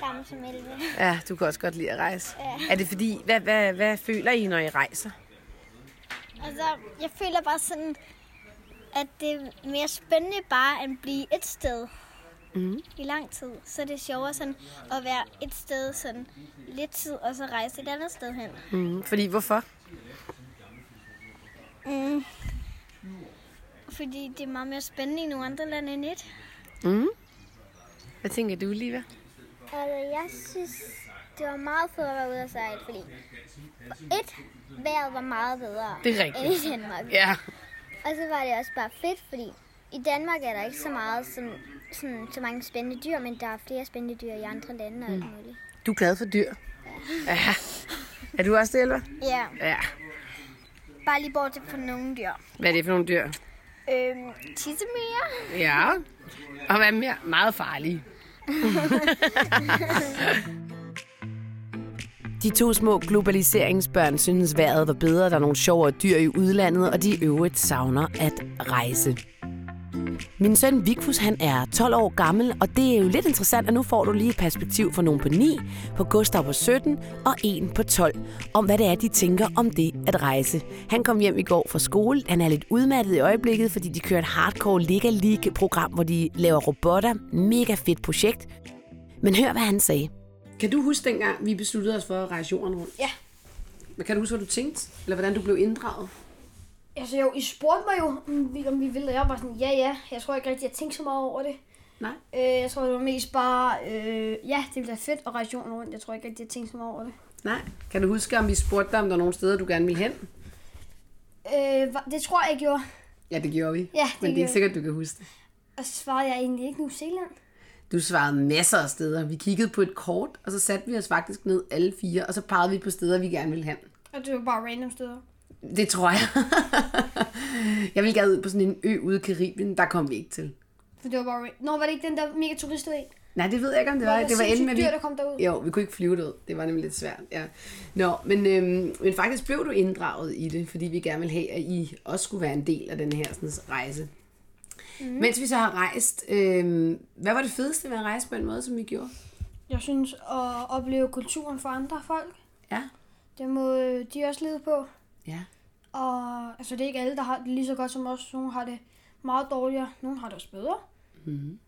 Speaker 7: Sammen som Elve.
Speaker 1: Ja, du kan også godt lide at rejse.
Speaker 7: Ja.
Speaker 1: Er det fordi, hvad, hvad, hvad føler I, når I rejser?
Speaker 7: Altså, jeg føler bare sådan, at det er mere spændende bare at blive et sted mm. i lang tid. Så det er sjovere sådan at være et sted sådan lidt tid, og så rejse et andet sted hen.
Speaker 1: Mm, fordi hvorfor?
Speaker 7: Mm. Fordi det er meget mere spændende i nogle andre lande end et.
Speaker 1: Mm. Hvad tænker du, Liva?
Speaker 7: Altså, jeg synes, det var meget fedt at være ude og sejle, fordi et, vejret var meget bedre
Speaker 1: Det er rigtigt.
Speaker 7: [LAUGHS] end i Danmark.
Speaker 1: Ja.
Speaker 7: Og så var det også bare fedt, fordi i Danmark er der ikke så meget som, sådan, så mange spændende dyr, men der er flere spændende dyr i andre lande og
Speaker 1: Mm.
Speaker 7: alt muligt.
Speaker 1: Du er glad for dyr. Ja. Er du også det, Elva?
Speaker 7: Ja,
Speaker 1: Ja.
Speaker 7: bare lige bortset fra nogle dyr.
Speaker 1: Hvad er det for nogle dyr?
Speaker 7: Øhm, tissemyrer.
Speaker 1: Ja. Og hvad mere? Meget farlige.
Speaker 6: De to små globaliseringsbørn synes, vejret var bedre, der er nogle sjovere dyr i udlandet, og de i øvrigt savner at rejse. Min søn Vigfus, han er 12 år gammel, og det er jo lidt interessant, at nu får du lige et perspektiv for nogen på 9, på Gustav på 17 og en på 12, om hvad det er, de tænker om det at rejse. Han kom hjem i går fra skole, han er lidt udmattet i øjeblikket, fordi de kører et hardcore Lega League-program, hvor de laver robotter. Mega fedt projekt. Men hør, hvad han sagde.
Speaker 1: Kan du huske dengang, vi besluttede os for at rejse jorden rundt?
Speaker 8: Ja.
Speaker 1: Men kan du huske, hvad du tænkte? Eller hvordan du blev inddraget?
Speaker 8: Altså jo, I spurgte mig jo, om vi, om vi ville, og jeg var sådan, ja ja, jeg tror ikke rigtig, jeg tænkte så meget over det.
Speaker 1: Nej.
Speaker 8: Øh, jeg tror, det var mest bare, øh, ja, det ville være fedt at rejse jorden rundt. Jeg tror ikke rigtig, jeg tænkte så meget over det.
Speaker 1: Nej. Kan du huske, om vi spurgte dig, om der er nogle steder, du gerne ville hen?
Speaker 8: Øh, hva- det tror jeg, jeg gjorde.
Speaker 1: Ja, det gjorde vi.
Speaker 8: Ja, det
Speaker 1: Men det er
Speaker 8: gjorde
Speaker 1: ikke sikkert, du kan huske det.
Speaker 8: Og så svarede jeg egentlig ikke New Zealand.
Speaker 1: Du svarede masser af steder. Vi kiggede på et kort, og så satte vi os faktisk ned alle fire, og så pegede vi på steder, vi gerne ville hen.
Speaker 8: Og det var bare random steder.
Speaker 1: Det tror jeg. [LAUGHS] jeg ville gerne ud på sådan en ø ude i Karibien. Der kom vi ikke til.
Speaker 8: For det var bare random. Nå, var det ikke den der mega turistede en?
Speaker 1: Nej, det ved jeg ikke, om det
Speaker 8: Hvor
Speaker 1: var.
Speaker 8: er der
Speaker 1: Det var enden med,
Speaker 8: sindssygt dyr,
Speaker 1: vi-
Speaker 8: der kom derud?
Speaker 1: Jo, vi kunne ikke flyve derud. Det var nemlig lidt svært, ja. Nå, men, øhm, men faktisk blev du inddraget i det, fordi vi gerne ville have, at I også skulle være en del af den her sådan, rejse. Mm.
Speaker 8: Mhm.
Speaker 1: Mens vi så har rejst, øhm, hvad var det fedeste ved at rejse på en måde, som vi gjorde?
Speaker 8: Jeg synes, at opleve kulturen for andre folk,
Speaker 1: Ja.
Speaker 8: det må øh, de også leve på.
Speaker 1: Ja.
Speaker 8: Og altså, det er ikke alle, der har det lige så godt som os. Nogle har det meget dårligere, nogle har det også bedre. Mm.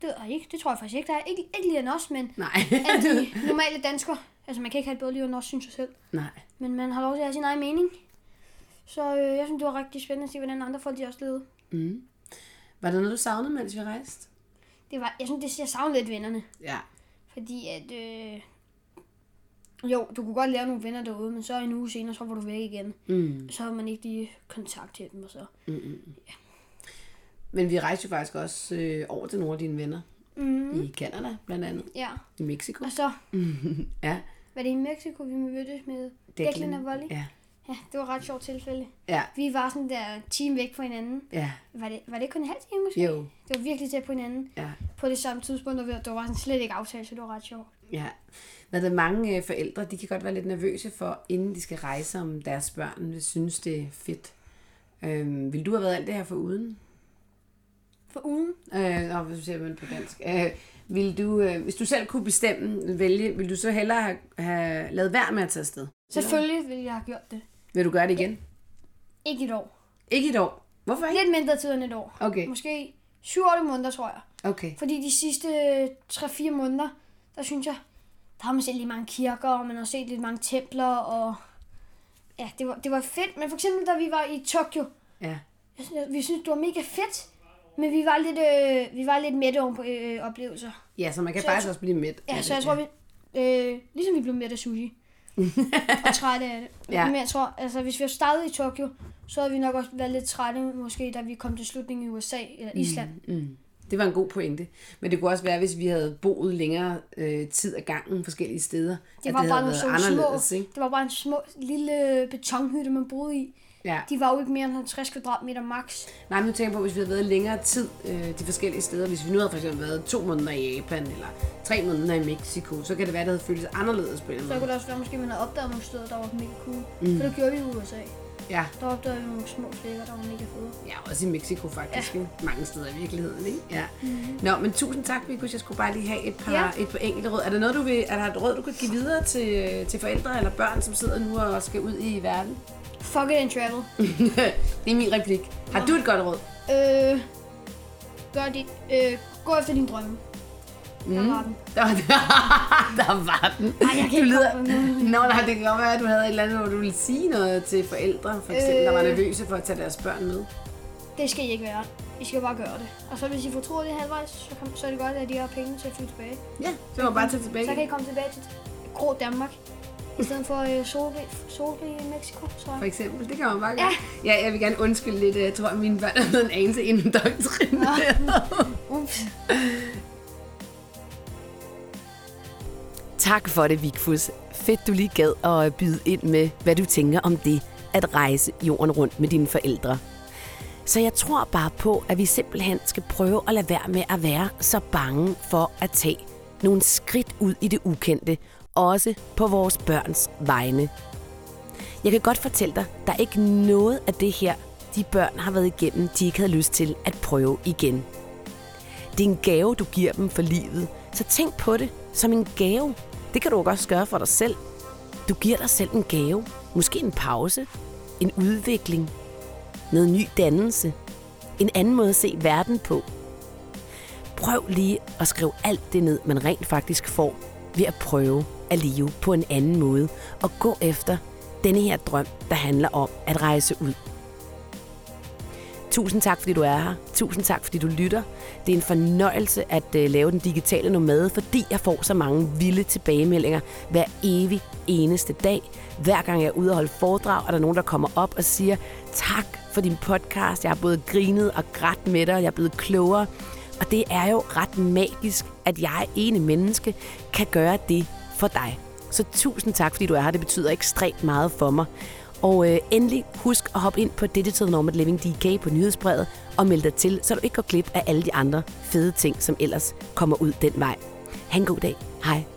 Speaker 8: Det ved jeg ikke. Det tror jeg faktisk ikke, der er. Ikke, ikke lige end os, men
Speaker 1: Nej.
Speaker 8: alle de normale danskere. Altså, man kan ikke have et bedre liv end os, synes jeg selv.
Speaker 1: [LAUGHS] Nej.
Speaker 8: Men man har lov til at have sin egen mening. Så øh, jeg synes, det var rigtig spændende at se, hvordan andre folk de også levede.
Speaker 1: Mm. Var der noget, du savnede, mens vi rejste?
Speaker 8: Det var, jeg synes, det jeg savnede lidt vennerne.
Speaker 1: Ja.
Speaker 8: Fordi at... Øh, jo, du kunne godt lave nogle venner derude, men så en uge senere, så var du væk igen.
Speaker 1: Mm.
Speaker 8: Så havde man ikke lige kontakt til dem og så.
Speaker 1: Men vi rejste jo faktisk også øh, over til nogle af dine venner.
Speaker 9: Mm-hmm.
Speaker 8: Mm,
Speaker 1: I Kanada, blandt andet.
Speaker 8: ja.
Speaker 1: I Mexico.
Speaker 8: Og så
Speaker 1: [LAUGHS] Ja.
Speaker 8: var det i Mexico, vi mødtes med Declan og Volley.
Speaker 1: Ja.
Speaker 8: Ja, det var et ret sjovt tilfælde.
Speaker 9: Ja,
Speaker 8: Vi var sådan der en time væk fra hinanden.
Speaker 9: ja,
Speaker 8: Var det, var det kun en halv time måske?
Speaker 9: jo,
Speaker 8: Det var virkelig tæt på hinanden.
Speaker 9: ja,
Speaker 8: På det samme tidspunkt, og vi- det var sådan slet ikke aftalt, så det var ret sjovt.
Speaker 1: Ja. Hvad der mange øh, forældre, de kan godt være lidt nervøse for, inden de skal rejse, om deres børn vil synes, det er fedt. Øhm, vil du have været alt det her for uden?
Speaker 8: For ugen,
Speaker 1: Øh, nå, hvis du siger man på dansk. Øh, vil du, øh, hvis du selv kunne bestemme, vælge, vil du så hellere have, have lavet værd med at tage afsted?
Speaker 8: selvfølgelig ville jeg have gjort det.
Speaker 1: Vil du gøre det igen?
Speaker 8: Ikke et år.
Speaker 1: Ikke et år. Hvorfor ikke?
Speaker 8: Lidt mindre tid end et år.
Speaker 1: Okay,
Speaker 8: Måske 7-8 måneder, tror jeg.
Speaker 1: okay.
Speaker 8: Fordi de sidste øh, 3-4 måneder, der synes jeg, der har man set lidt mange kirker, og man har set lidt mange templer, og ja, det var, det var fedt. Men for eksempel, da vi var i Tokyo,
Speaker 1: Ja.
Speaker 8: jeg synes, vi synes, det var mega fedt, men vi var lidt, øh, vi var lidt mætte oven på øh, oplevelser.
Speaker 1: Ja, så man kan
Speaker 8: Så jeg
Speaker 1: faktisk også blive mæt. af
Speaker 8: Ja,
Speaker 1: det,
Speaker 8: så jeg tror, vi, øh, ligesom vi blev mætte af sushi. og trætte af det.
Speaker 1: Ja.
Speaker 8: Men jeg tror, altså hvis vi havde startet i Tokyo, så havde vi nok også været lidt trætte, måske da vi kom til slutningen i USA eller Island. Mm.
Speaker 1: Mm. Det var en god pointe. Men det kunne også være, hvis vi havde boet længere øh, tid ad gangen forskellige steder. at
Speaker 8: Det var bare nogle
Speaker 1: havde
Speaker 8: sådan
Speaker 1: været
Speaker 8: små,
Speaker 1: anderledes, ikke?
Speaker 8: det var bare en små lille betonhytte, man boede i.
Speaker 1: Ja.
Speaker 8: De var jo ikke mere end 50 kvadratmeter max.
Speaker 1: Nej, men nu tænker jeg på, hvis vi havde været længere tid øh, de forskellige steder. Hvis vi nu havde for eksempel været to måneder i Japan, eller tre måneder i Mexico, så kan det være, at det havde føltes anderledes på en eller
Speaker 8: Så
Speaker 1: anden
Speaker 8: kunne
Speaker 1: måde.
Speaker 8: det også være, måske man havde opdaget nogle steder, der var mega cool. Mm. For det gjorde vi i USA.
Speaker 1: Ja,
Speaker 8: Der opdagede vi nogle små flækker, der var mega fede.
Speaker 1: ja, også i Mexico faktisk. Ja. Mange steder i virkeligheden, ikke? Ja. Mm-hmm. Nå, men tusind tak, Vikus. Jeg skulle bare lige have et par, ja.
Speaker 8: Ja.
Speaker 1: et par enkelte råd. Er der noget, du vil, er der et råd, du kan give videre til, til forældre eller børn, som sidder nu og skal ud i verden? [LAUGHS]
Speaker 8: Fuck it and travel.
Speaker 1: det er min replik. Har du et godt råd?
Speaker 8: øh, gør dit, øh, gå efter din drømme. Mm. Der var den.
Speaker 1: [LAUGHS] Der, der var den.
Speaker 8: Ej, jeg kan
Speaker 1: du
Speaker 8: ikke
Speaker 1: lyder...
Speaker 8: komme med
Speaker 1: Nå, nej, det kan godt være, at du havde et eller andet, hvor du ville sige noget til forældre, for eksempel, øh... der var
Speaker 8: Øh.
Speaker 1: nervøse for at tage deres børn med.
Speaker 8: Det skal I ikke være. I skal bare gøre det. Og så hvis I fortryder det halvvejs, så, kan, så er det godt, at I har penge til at flytte tilbage.
Speaker 1: Ja, så var bare tage tilbage.
Speaker 8: Så kan I komme tilbage til grå Danmark. I stedet for øh, solrig, solrig i Mexico, tror jeg.
Speaker 1: For eksempel, det kan man bare gøre. Ja. ja, jeg vil gerne undskylde lidt. øh, Jeg tror, at mine børn har været en anelse indoktrineret.
Speaker 8: Ups.
Speaker 1: Tak for det, Vigfus. Fedt, du lige gad at byde ind med, hvad du tænker om det, at rejse jorden rundt med dine forældre.
Speaker 9: Så jeg tror bare på, at vi simpelthen skal prøve at lade være med at være så bange for at tage nogle skridt ud i det ukendte, også på vores børns vegne. Jeg kan godt fortælle dig, der er ikke noget af det her, de børn har været igennem, de ikke havde lyst til at prøve igen. Det er en gave, du giver dem for livet, så tænk på det som en gave. Det kan du jo også gøre for dig selv. Du giver dig selv en gave, måske en pause, en udvikling, noget ny dannelse, en anden måde at se verden på. Prøv lige at skrive alt det ned, man rent faktisk får ved at prøve at leve på en anden måde og gå efter denne her drøm, der handler om at rejse ud. Tusind tak, fordi du er her. Tusind tak, fordi du lytter. Det er en fornøjelse at øh, lave den digitale nomade, fordi jeg får så mange vilde tilbagemeldinger hver evig eneste dag. Hver gang jeg er ude og holde foredrag, er der nogen, der kommer op og siger, tak for din podcast. Jeg har både grinet og grædt med dig, og jeg er blevet klogere. Og det er jo ret magisk, at jeg ene menneske kan gøre det for dig. Så tusind tak, fordi du er her. Det betyder ekstremt meget for mig. Og øh, endelig husk at hoppe ind på Digital Nomad Living DK på nyhedsbrevet og meld dig til, så du ikke går glip af alle de andre fede ting, som ellers kommer ud den vej. Ha' en god dag. Hej.